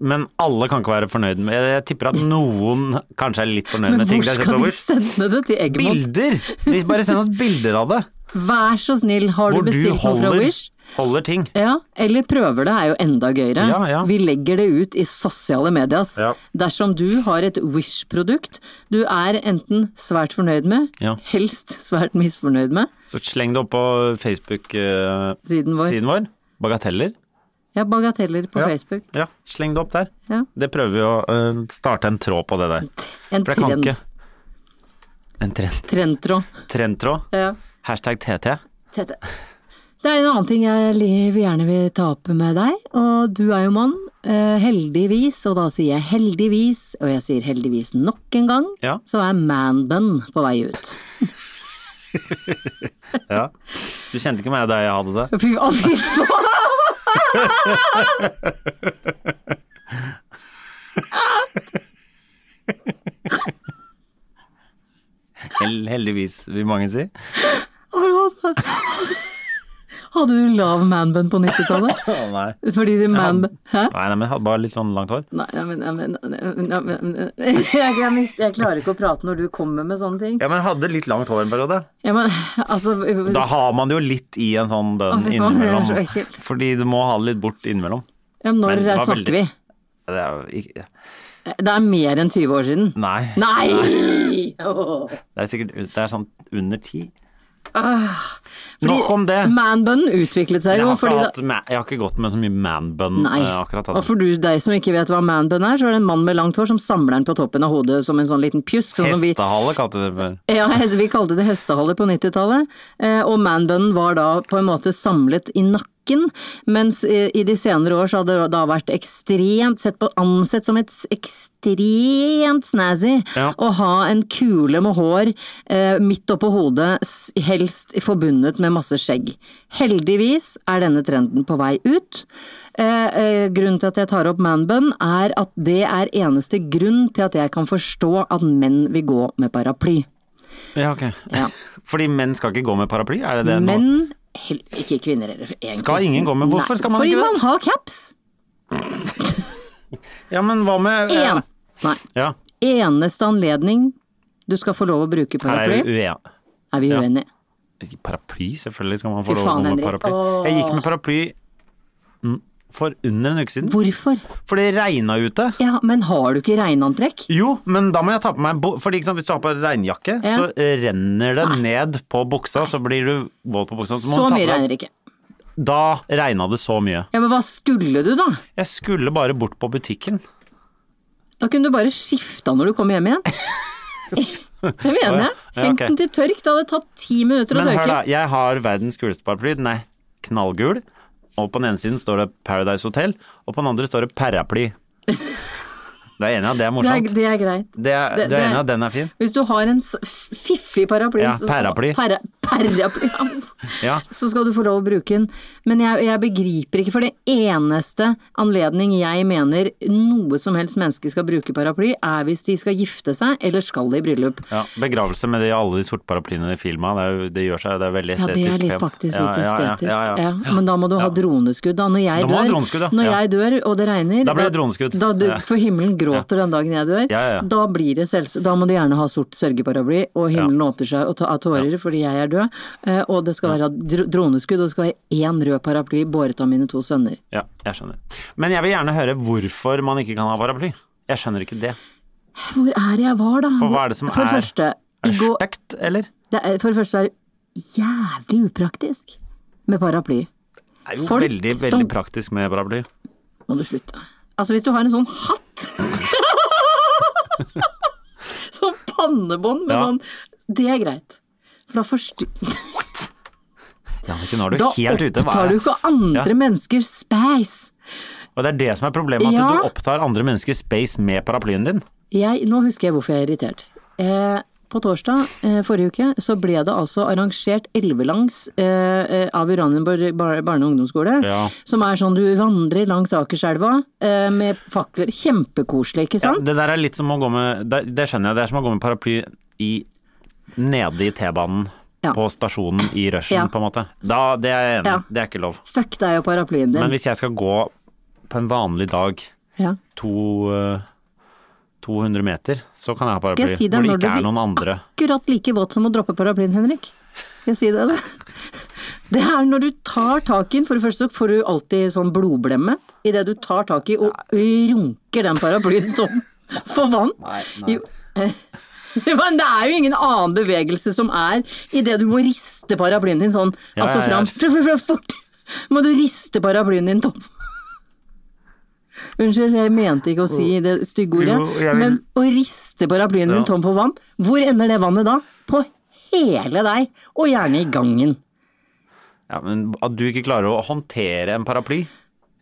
Speaker 1: men alle kan ikke være fornøyd med Jeg, jeg tipper at noen kanskje er litt fornøyd
Speaker 2: Men
Speaker 1: med ting
Speaker 2: hvor
Speaker 1: de har sett
Speaker 2: skal de
Speaker 1: over.
Speaker 2: sende det? Til Eggemot?
Speaker 1: Bilder! De bare send oss bilder av det.
Speaker 2: Vær så snill, har du
Speaker 1: Hvor du
Speaker 2: bestilt noe fra
Speaker 1: holder,
Speaker 2: Wish?
Speaker 1: holder ting.
Speaker 2: Ja, eller prøver det er jo enda gøyere.
Speaker 1: Ja, ja.
Speaker 2: Vi legger det ut i sosiale medias.
Speaker 1: Ja.
Speaker 2: Dersom du har et Wish-produkt du er enten svært fornøyd med,
Speaker 1: Ja.
Speaker 2: helst svært misfornøyd med,
Speaker 1: Så sleng det opp på Facebook-siden
Speaker 2: siden vår.
Speaker 1: vår. Bagateller.
Speaker 2: Ja, bagateller på
Speaker 1: Ja.
Speaker 2: Facebook.
Speaker 1: Ja, sleng det opp der.
Speaker 2: Ja.
Speaker 1: Det prøver vi å øh, starte en tråd på det der.
Speaker 2: En
Speaker 1: For jeg kan
Speaker 2: trend.
Speaker 1: ikke En trend,
Speaker 2: Trendtråd.
Speaker 1: trendtråd.
Speaker 2: Ja.
Speaker 1: Hashtag TT.
Speaker 2: Tete. Det er en annen ting jeg li- vil gjerne vil ta opp med deg, og du er jo mann. Eh, heldigvis, og da sier jeg heldigvis, og jeg sier heldigvis nok en gang,
Speaker 1: Ja.
Speaker 2: så er man-bun på vei ut.
Speaker 1: Ja. Du kjente ikke meg da jeg hadde det?
Speaker 2: Fy, å, fy faen!
Speaker 1: Hell, heldigvis, vil mange si.
Speaker 2: Hadde du lav man-bun på 90-tallet?
Speaker 1: Å nei.
Speaker 2: Fordi du man-bun Hæ?
Speaker 1: Nei, nei, men jeg hadde bare litt sånn langt hår.
Speaker 2: Nei, ja, men, ja, men, ja, men, ja, men [laughs] jeg, jeg, mist- jeg klarer ikke å prate når du kommer med sånne ting.
Speaker 1: Ja, men jeg hadde litt langt hår en periode.
Speaker 2: Ja, men, altså,
Speaker 1: Da har man det jo litt i en sånn bønn
Speaker 2: Å, fy faen, det er så
Speaker 1: innimellom.
Speaker 2: ekkelt.
Speaker 1: Fordi du må ha det litt bort innimellom.
Speaker 2: ja, når
Speaker 1: Men det var
Speaker 2: snakker
Speaker 1: veldig-
Speaker 2: vi?
Speaker 1: Det er jo ikke
Speaker 2: Det er mer enn 20 år siden.
Speaker 1: Nei.
Speaker 2: Nei! Åh.
Speaker 1: Det er sikkert det er sånn under ti.
Speaker 2: Ah,
Speaker 1: Nok om det.
Speaker 2: Man-bun utviklet seg
Speaker 1: Jeg
Speaker 2: jo
Speaker 1: har, ikke
Speaker 2: fordi
Speaker 1: hatt, ma- jeg har ikke gått med så mye man-bun
Speaker 2: Nei.
Speaker 1: eh, akkurat.
Speaker 2: Og for du, deg som ikke vet hva man-bun er, så er det en mann med langt hår som samler den på toppen av hodet som en sånn liten pjusk. Sånn som vi,
Speaker 1: Hestehale kalte vi det før.
Speaker 2: ja, [laughs] hest- vi kalte det hestehale på 90-tallet. Eh, og man-bunen var da på en måte samlet i nakken, mens eh, i de senere år så hadde det da vært ekstremt sett på, ansett som et s- ekstremt snazzy
Speaker 1: Ja.
Speaker 2: å ha en kule med hår eh, midt oppå hodet, s- helst forbundet med masse skjegg. Heldigvis er denne trenden på vei ut. Eh, eh, grunnen til at jeg tar opp manbun, er at det er eneste grunn til at jeg kan forstå at menn vil gå med paraply.
Speaker 1: Ja, ok.
Speaker 2: Ja.
Speaker 1: [laughs] Fordi menn skal ikke gå med paraply, er det det nå?
Speaker 2: Men hel- ikke kvinner heller. egentlig.
Speaker 1: Skal ingen gå med- hvorfor
Speaker 2: Nei,
Speaker 1: skal man
Speaker 2: fordi
Speaker 1: ikke det?
Speaker 2: Fordi man har caps!
Speaker 1: Ja, men hva med
Speaker 2: Én.
Speaker 1: ja.
Speaker 2: Nei.
Speaker 1: Ja,
Speaker 2: Eneste anledning du skal få lov å bruke
Speaker 1: her er
Speaker 2: paraply,
Speaker 1: vi uenige.
Speaker 2: er vi
Speaker 1: Ja.
Speaker 2: uenige.
Speaker 1: Ikke Paraply, selvfølgelig skal man
Speaker 2: Fy
Speaker 1: få lov å
Speaker 2: faen,
Speaker 1: gå med
Speaker 2: Henrik.
Speaker 1: paraply.
Speaker 2: Åh.
Speaker 1: Jeg gikk med paraply mm, for under en uke siden,
Speaker 2: Hvorfor?
Speaker 1: for det regna ute.
Speaker 2: Ja, men har du ikke regnantrekk?
Speaker 1: Jo, men da må jeg ta på meg en bu- Fordi ikke sant, Hvis du har på deg regnjakke,
Speaker 2: Ja. Ah.
Speaker 1: så eh, renner det ned på buksa, så blir du våt på buksa. må du
Speaker 2: Så
Speaker 1: ta på
Speaker 2: mye
Speaker 1: deg-
Speaker 2: regner ikke.
Speaker 1: Da regna det så mye.
Speaker 2: Ja, men hva skulle du da?
Speaker 1: Jeg skulle bare bort på butikken.
Speaker 2: Da kunne du bare skifta når du kom hjem
Speaker 1: [laughs]
Speaker 2: igjen. Det mener jeg.
Speaker 1: Ja, ok.
Speaker 2: Hent den til tørk, det hadde tatt ti minutter å
Speaker 1: Men hør da,
Speaker 2: tørke.
Speaker 1: jeg har verdens kuleste paraply. Den er knallgul. Og på den ene siden står det Paradise Hotel, og på den andre står det Paraply.
Speaker 2: [laughs]
Speaker 1: Du er enig i at det er
Speaker 2: Det er,
Speaker 1: morsomt?
Speaker 2: det er greit.
Speaker 1: Det er,
Speaker 2: det-
Speaker 1: du er
Speaker 2: det
Speaker 1: enig i
Speaker 2: er-
Speaker 1: at den er fin?
Speaker 2: Hvis du har en s- fiffig paraply
Speaker 1: Ja,
Speaker 2: så-
Speaker 1: paraply.
Speaker 2: Para, paraply, [laughs] ja.
Speaker 1: Ja.
Speaker 2: så skal du få lov å bruke den. Men jeg, jeg begriper ikke, for det eneste anledning jeg mener noe som helst menneske skal bruke paraply, er hvis de skal gifte seg eller skal i bryllup.
Speaker 1: ja. Begravelse med de, alle de sorte paraplyene i filma, det, er jo- det gjør seg, det er veldig
Speaker 2: Ja, det
Speaker 1: estetisk
Speaker 2: er litt,
Speaker 1: pent.
Speaker 2: faktisk
Speaker 1: Ja,
Speaker 2: litt
Speaker 1: ja, ja,
Speaker 2: estetisk.
Speaker 1: ja, ja.
Speaker 2: Men da må du ha droneskudd. Da når jeg
Speaker 1: Da må du ha
Speaker 2: dør,
Speaker 1: droneskudd, ja.
Speaker 2: når
Speaker 1: Ja.
Speaker 2: jeg dør og det regner
Speaker 1: Da blir det droneskudd.
Speaker 2: Da, du,
Speaker 1: Ja.
Speaker 2: for himmelen gråter den dagen jeg dør.
Speaker 1: Ja, ja, ja.
Speaker 2: Da blir det selvs- Da må du gjerne ha sort sørgeparaply, og himmelen åpner seg og ta- av tårer fordi jeg er død. Eh, Og det skal være dr- droneskudd, og det skal være én rød paraply båret av mine to sønner.
Speaker 1: Ja, jeg skjønner. Men jeg vil gjerne høre hvorfor man ikke kan ha paraply. Jeg skjønner ikke det.
Speaker 2: Hvor er det jeg var, da?
Speaker 1: For hva er det som
Speaker 2: For
Speaker 1: er-
Speaker 2: første,
Speaker 1: Er
Speaker 2: i
Speaker 1: det
Speaker 2: går-
Speaker 1: stygt, eller?
Speaker 2: det er, for det første er det jævlig upraktisk med paraply.
Speaker 1: Det er jo
Speaker 2: Folk
Speaker 1: veldig, veldig
Speaker 2: som-
Speaker 1: praktisk med paraply.
Speaker 2: må du slutte. Altså, hvis du har en sånn hatt [laughs] Sånn pannebånd med
Speaker 1: Ja.
Speaker 2: sånn Det er greit. For da forstyrrer
Speaker 1: Jannicke, nå er du
Speaker 2: Da
Speaker 1: helt ute. Hva er
Speaker 2: opptar
Speaker 1: det?
Speaker 2: du ikke andre
Speaker 1: Ja.
Speaker 2: menneskers space.
Speaker 1: Og det er det som er problemet, at
Speaker 2: Ja.
Speaker 1: du opptar andre menneskers space med paraplyen din.
Speaker 2: Jeg, nå husker jeg hvorfor jeg er irritert. Eh, på torsdag eh, forrige uke så ble det altså arrangert elvelangs eh, eh, av Uranienborg bar, barne- og ungdomsskole.
Speaker 1: Ja.
Speaker 2: Som er sånn du vandrer langs Akerselva eh, med fakler. Kjempekoselig, ikke
Speaker 1: Ja,
Speaker 2: sant?
Speaker 1: det der er litt som å gå med det, det skjønner jeg, det er som å gå med paraply i Nede i T-banen
Speaker 2: Ja.
Speaker 1: på stasjonen i rushen,
Speaker 2: Ja.
Speaker 1: på en måte. Da, det er jeg enig i.
Speaker 2: Ja.
Speaker 1: Det er ikke lov.
Speaker 2: Fuck deg og
Speaker 1: Men
Speaker 2: paraplyen din.
Speaker 1: hvis jeg skal gå på en vanlig dag
Speaker 2: Ja.
Speaker 1: to, eh, 200 meter, så kan jeg ha
Speaker 2: Skal
Speaker 1: paraply.
Speaker 2: jeg si deg
Speaker 1: hvor det
Speaker 2: når du
Speaker 1: ikke er
Speaker 2: blir
Speaker 1: noen andre.
Speaker 2: akkurat like våt som å droppe paraplyen, Henrik. Skal jeg si deg det? Det er når du tar tak i den, for det første så får du alltid sånn blodblemme idet du tar tak i og runker den paraplyen tom for vann. Jo, [laughs] eh, men det er jo ingen annen bevegelse som er idet du må riste paraplyen din sånn
Speaker 1: Ja,
Speaker 2: att
Speaker 1: ja, ja.
Speaker 2: og fram. Fru, fru, fru, Fort! Må du riste paraplyen din tom. Unnskyld, jeg mente ikke å si det stygge ordet,
Speaker 1: Jo, jeg vil-
Speaker 2: men å riste paraplyen din
Speaker 1: Ja.
Speaker 2: tom for vann, hvor ender det vannet da? På hele deg, og gjerne i gangen.
Speaker 1: Ja, men At du ikke klarer å håndtere en paraply.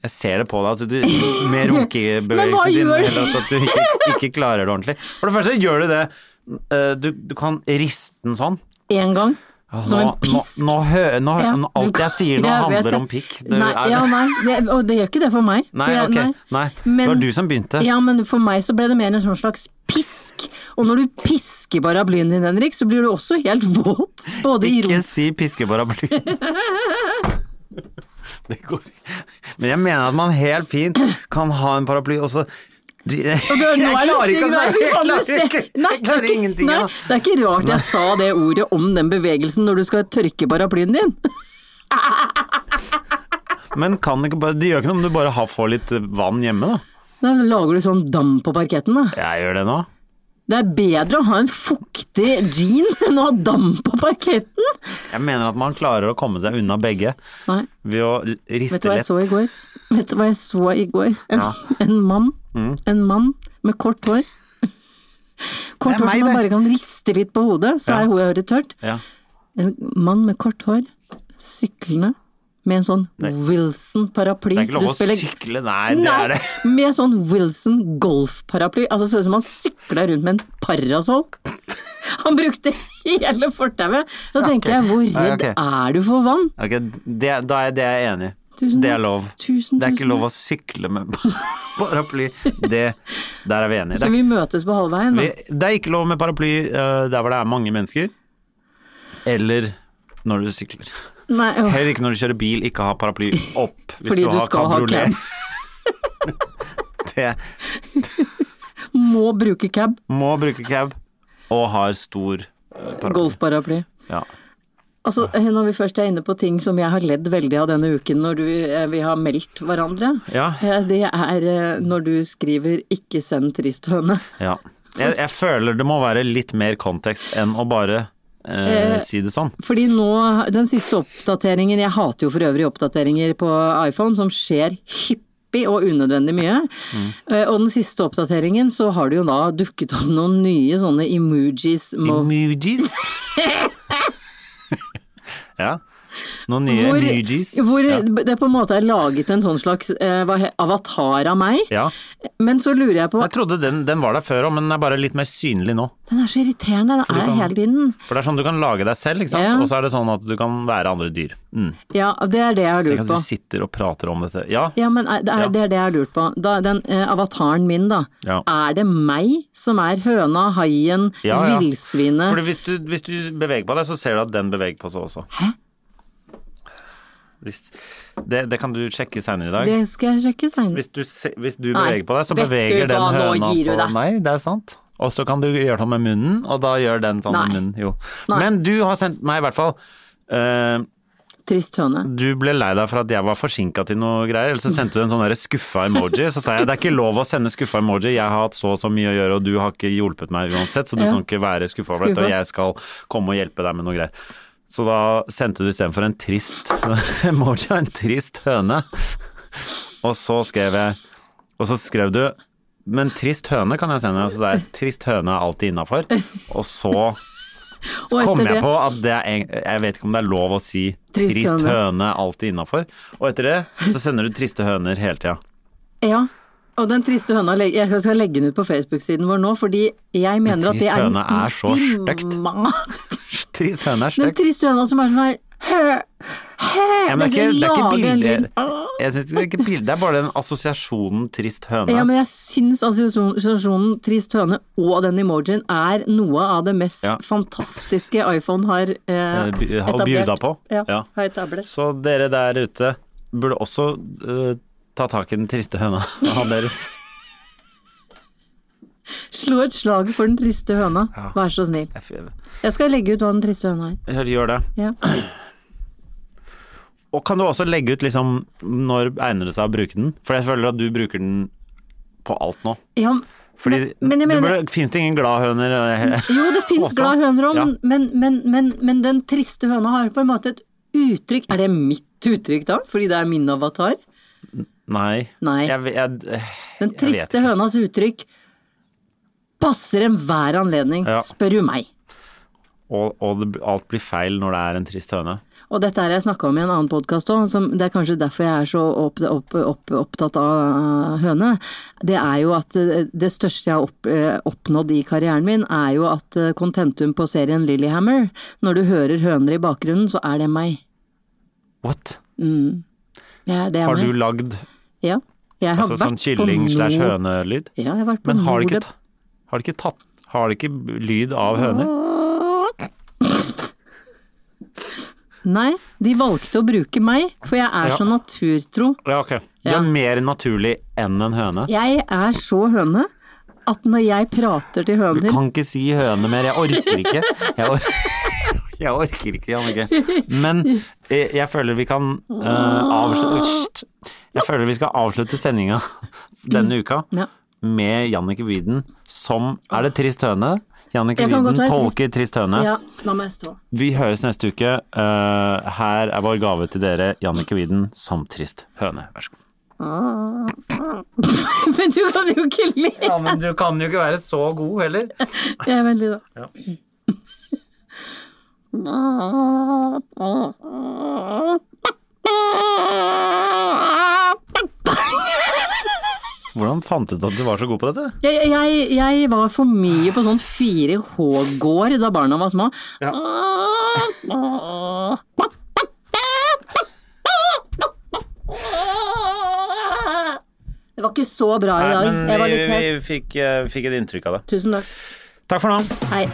Speaker 1: Jeg ser det på deg at du med
Speaker 2: Men hva
Speaker 1: runkebevegelsen din
Speaker 2: gjør
Speaker 1: eller at du ikke, ikke klarer det ordentlig. For det første gjør du det. eh, Du, du kan riste den sånn.
Speaker 2: Én gang,
Speaker 1: Ja,
Speaker 2: som en
Speaker 1: nå-
Speaker 2: pisk.
Speaker 1: Nå, nå, hø, nå,
Speaker 2: Ja,
Speaker 1: nå,
Speaker 2: du
Speaker 1: alt
Speaker 2: kan-
Speaker 1: jeg
Speaker 2: [laughs]
Speaker 1: sier nå,
Speaker 2: Jeg vet
Speaker 1: handler
Speaker 2: det.
Speaker 1: om pikk. Det
Speaker 2: Nei,
Speaker 1: er-
Speaker 2: ja, nei, det, og det gjør ikke det for meg.
Speaker 1: Nei,
Speaker 2: for jeg-
Speaker 1: ok. Nei, det var du som begynte.
Speaker 2: Ja, men for meg så ble det mer en sånn slags pisk. Og når du pisker paraplyen din, Henrik, så blir du også helt våt. Både i
Speaker 1: Ikke
Speaker 2: rom
Speaker 1: si
Speaker 2: [laughs]
Speaker 1: piskeparaply. Det går Men jeg mener at man helt fint kan ha en paraply, og så Jeg
Speaker 2: Og det- nå er det
Speaker 1: klarer ikke å
Speaker 2: stygg, nei,
Speaker 1: snakke!
Speaker 2: fy
Speaker 1: Jeg
Speaker 2: faen, du
Speaker 1: klarer
Speaker 2: ser-
Speaker 1: ikke.
Speaker 2: Nei,
Speaker 1: Jeg klarer
Speaker 2: det er ikke-
Speaker 1: ingenting. altså.
Speaker 2: Nei,
Speaker 1: av
Speaker 2: det er ikke rart jeg sa det ordet om den bevegelsen når du skal tørke paraplyen din.
Speaker 1: Men kan ikke bare, det gjør ikke noe om du bare har, får litt eh, vann hjemme, da.
Speaker 2: Da lager du sånn dam på parketten, da.
Speaker 1: Jeg gjør det nå.
Speaker 2: Det er bedre å ha en fuktig jeans enn å ha dam på parketten!
Speaker 1: Jeg mener at man klarer å komme seg unna begge
Speaker 2: Nei,
Speaker 1: ved å l-
Speaker 2: vet
Speaker 1: riste
Speaker 2: du hva jeg
Speaker 1: lett.
Speaker 2: så i går? Vet du hva jeg så i går? En,
Speaker 1: Ja. Mm.
Speaker 2: en mann. En mann med kort hår. Kort
Speaker 1: Det er
Speaker 2: hår som
Speaker 1: meg,
Speaker 2: man
Speaker 1: det.
Speaker 2: bare kan riste litt på hodet, så
Speaker 1: Ja.
Speaker 2: er håret tørt.
Speaker 1: Ja.
Speaker 2: En mann med kort hår, syklende, med en sånn Wilson-paraply.
Speaker 1: Det er ikke lov
Speaker 2: Du
Speaker 1: å
Speaker 2: spiller-
Speaker 1: sykle, nei, det er det.
Speaker 2: Nei, med sånn Wilson golfparaply. Altså sånn som han sykla rundt med en parasoll. Han brukte hele fortauet. Da tenkte jeg, hvor
Speaker 1: Nei,
Speaker 2: redd
Speaker 1: ok.
Speaker 2: er du for vann?
Speaker 1: Ok, det, da er det er jeg enig i.
Speaker 2: Tusen
Speaker 1: Det er
Speaker 2: takk.
Speaker 1: lov.
Speaker 2: Tusen,
Speaker 1: det er
Speaker 2: tusen
Speaker 1: ikke lov å sykle med [laughs] paraply. Det, der er vi enige.
Speaker 2: Så
Speaker 1: Det,
Speaker 2: vi møtes på halvveien.
Speaker 1: er-
Speaker 2: da.
Speaker 1: vi- det er ikke lov med paraply eh, der hvor det er mange mennesker, eller når du sykler.
Speaker 2: Nei, åh.
Speaker 1: Heller ikke når du kjører bil, ikke ha paraply opp hvis
Speaker 2: Fordi du
Speaker 1: har
Speaker 2: skal ha
Speaker 1: kabriolet.
Speaker 2: cab.
Speaker 1: [laughs] det
Speaker 2: Må bruke cab.
Speaker 1: må bruke cab og har stor eh, paraply.
Speaker 2: Golfparaply.
Speaker 1: Ja.
Speaker 2: Altså,
Speaker 1: Ah.
Speaker 2: eh, når vi først er inne på ting som jeg har ledd veldig av denne uken når du, eh, vi har meldt hverandre,
Speaker 1: Ja.
Speaker 2: eh, det er eh, når du skriver 'ikke send tristhøne'.
Speaker 1: Ja. Jeg, jeg føler det må være litt mer kontekst enn å bare eh, si det sånn.
Speaker 2: Fordi nå, den siste oppdateringen, jeg hater jo for øvrig oppdateringer på iPhone, som skjer hyppig og unødvendig mye.
Speaker 1: Mm.
Speaker 2: Eh, Og den siste oppdateringen så har det jo da dukket opp noen nye sånne emojis. Mo
Speaker 1: Emojis. [laughs] ja. Noen nye
Speaker 2: hvor,
Speaker 1: emojis.
Speaker 2: hvor
Speaker 1: ja.
Speaker 2: det på en måte er laget en sånn slags eh, hva he- avatar av meg.
Speaker 1: ja.
Speaker 2: Men så lurer jeg på
Speaker 1: Jeg trodde den, den var der før òg, men den er bare litt mer synlig nå.
Speaker 2: Den er så irriterende, den
Speaker 1: du
Speaker 2: er der
Speaker 1: kan-
Speaker 2: hele tiden.
Speaker 1: For det er sånn du kan lage deg selv, ikke sant?
Speaker 2: Ja.
Speaker 1: og så er det sånn at du kan være andre dyr. Mm.
Speaker 2: Ja, det er det jeg har
Speaker 1: Tenk
Speaker 2: lurt
Speaker 1: at
Speaker 2: på.
Speaker 1: du sitter og prater om dette. Ja,
Speaker 2: Ja, men er, det, er,
Speaker 1: Ja.
Speaker 2: det er det jeg har lurt på. Da, den eh, avataren min, da.
Speaker 1: Ja.
Speaker 2: Er det meg som er høna, haien,
Speaker 1: Ja, ja.
Speaker 2: villsvinet?
Speaker 1: for hvis, du- hvis du beveger på deg, så ser du at den beveger på seg også. Hæ? Hvis, det, det kan du sjekke seinere i dag.
Speaker 2: Det skal jeg sjekke seinere.
Speaker 1: Hvis du, se- hvis du
Speaker 2: Mm. Nei,
Speaker 1: beveger på deg, så
Speaker 2: vet du
Speaker 1: beveger den
Speaker 2: hva, nå
Speaker 1: høna
Speaker 2: gir du
Speaker 1: på
Speaker 2: deg.
Speaker 1: Nei, det er sant. Og så kan du gjøre sånn med munnen, og da gjør den sånn med
Speaker 2: Nei.
Speaker 1: munnen. Jo.
Speaker 2: Nei.
Speaker 1: Men du har sendt meg i hvert fall eh,
Speaker 2: Trist høne.
Speaker 1: Du ble lei deg for at jeg var forsinka til noe greier, eller så sendte du en sånn derre skuffa emoji. Så sa jeg det er ikke lov å sende skuffa emoji, jeg har hatt så og så mye å gjøre, og du har ikke hjulpet meg uansett, så du
Speaker 2: Ja.
Speaker 1: kan ikke være skuffa over dette, og
Speaker 2: Skuffa.
Speaker 1: jeg skal komme og hjelpe deg med noe greier. Så da sendte du istedenfor en trist [laughs] emoji av en trist høne. Og så skrev jeg Og så skrev du Men trist høne kan jeg sende. Og så sa jeg trist høne er alltid innafor. Og så
Speaker 2: Og
Speaker 1: kom
Speaker 2: etter
Speaker 1: jeg
Speaker 2: det
Speaker 1: på at det er, en- jeg vet ikke om det er lov å si
Speaker 2: Trist
Speaker 1: trist,
Speaker 2: høne.
Speaker 1: høne alltid innafor. Og etter det så sender du triste høner hele tida.
Speaker 2: Ja. Og den triste høna leg- Jeg skal legge den ut på Facebook-siden vår nå, fordi jeg mener at
Speaker 1: trist
Speaker 2: det er
Speaker 1: høne er så stygt.
Speaker 2: ultimate-
Speaker 1: [laughs] Trist høne er
Speaker 2: Den
Speaker 1: stygt.
Speaker 2: triste høna som er sånn her hø, hø,
Speaker 1: Ja, men det er ikke- det er ikke billig. Jeg synes det er ikke bildet, det er bare den assosiasjonen trist høne.
Speaker 2: Ja, men jeg syns assosiasjonen Trist høne og den emojien er noe av det mest
Speaker 1: Ja.
Speaker 2: fantastiske iPhone har eh,
Speaker 1: Eh, by- har å
Speaker 2: etablert.
Speaker 1: bjuda på.
Speaker 2: Ja,
Speaker 1: Ja.
Speaker 2: har etablert.
Speaker 1: Så dere der ute burde også eh, ta tak i den triste høna [laughs] av deres.
Speaker 2: Slå et slag for den triste høna,
Speaker 1: Ja.
Speaker 2: vær så snill.
Speaker 1: Jeg f-
Speaker 2: Jeg skal legge ut hva den triste høna er.
Speaker 1: jeg Gjør det.
Speaker 2: Ja.
Speaker 1: Og kan du også legge ut liksom når egner det seg å bruke den? For jeg føler at du bruker den på alt nå.
Speaker 2: Ja,
Speaker 1: Fordi
Speaker 2: Men- men jeg mener-
Speaker 1: Fins det ingen gladhøner?
Speaker 2: jo, det fins
Speaker 1: Også.
Speaker 2: glad høner òg,
Speaker 1: Ja.
Speaker 2: men, men, men, men den triste høna har på en måte et uttrykk. Er det mitt uttrykk da, fordi det er min avatar?
Speaker 1: Nei.
Speaker 2: Nei.
Speaker 1: Jeg, ve- jeg,
Speaker 2: Den
Speaker 1: Jeg vet
Speaker 2: triste hønas uttrykk passer enhver anledning,
Speaker 1: Ja.
Speaker 2: spør du meg.
Speaker 1: og og det, alt blir feil når det er en trist høne.
Speaker 2: Og dette har jeg snakka om i en annen podkast òg, det er kanskje derfor jeg er så opp, opp, opp, opptatt av høne. Det er jo at eh, det største jeg har opp, eh, oppnådd i karrieren min, er jo at eh, kontentum på serien Lillehammer, når du hører høner i bakgrunnen, så er det meg.
Speaker 1: What?
Speaker 2: Ja, det er
Speaker 1: Har du
Speaker 2: meg.
Speaker 1: lagd
Speaker 2: Ja. Jeg har
Speaker 1: altså, sånn
Speaker 2: vært på
Speaker 1: kylling slash
Speaker 2: Nord-
Speaker 1: hønelyd?
Speaker 2: Ja, jeg har vært på
Speaker 1: Men har det
Speaker 2: Nordep-
Speaker 1: ikke, ta- har det ikke tatt Har det ikke b- lyd av høner?
Speaker 2: Nei, de valgte å bruke meg, for jeg er
Speaker 1: Ja.
Speaker 2: så naturtro.
Speaker 1: Ja, ok. Du
Speaker 2: Ja.
Speaker 1: er mer naturlig enn en høne.
Speaker 2: Jeg er så høne at når jeg prater
Speaker 1: Du
Speaker 2: til høner
Speaker 1: kan ikke si høne mer, jeg orker ikke. Jeg, or [laughs] jeg orker ikke, Jannicke. Men eh, jeg, jeg føler vi kan
Speaker 2: Ah.
Speaker 1: avslutte Jeg føler vi skal avslutte sendinga [laughs] denne uka
Speaker 2: Mm. Ja.
Speaker 1: med Jannicke Wieden som Er det Trist høne? Jannicke
Speaker 2: Jeg kan godt
Speaker 1: Wieden
Speaker 2: være
Speaker 1: tolker Trist høne.
Speaker 2: Ja, la meg stå.
Speaker 1: Vi høres neste uke. Eh, her er vår gave til dere, Jannicke Wieden som Trist høne. Vær så god.
Speaker 2: [laughs] Men du kan jo ikke le!
Speaker 1: Ja, men du kan jo ikke være så god heller.
Speaker 2: Jeg er veldig da. [laughs]
Speaker 1: Hvordan fant du ut at du var så god på dette?
Speaker 2: Jeg, jeg, jeg var for mye på sånn 4H-gård da barna var små. Det var ikke så bra i dag. Jeg var litt hes.
Speaker 1: fikk, et inntrykk av det.
Speaker 2: Tusen takk.
Speaker 1: Takk for nå.
Speaker 2: Hei.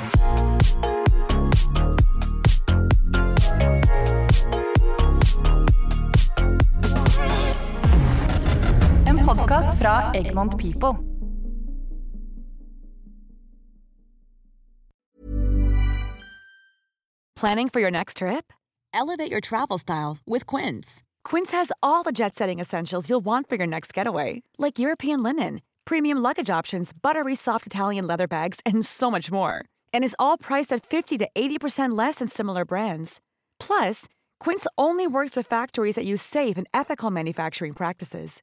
Speaker 5: En podkast fra Egmont People.
Speaker 6: Planning for your next trip?
Speaker 7: Elevate your travel style with Quince.
Speaker 6: Quince has all the jet setting essentials you'll want for your next getaway, like European linen, premium luggage options, buttery soft Italian leather bags, and so much more. And is all priced at 50 to 80% less than similar brands. Plus, Quince only works with factories that use safe and ethical manufacturing practices.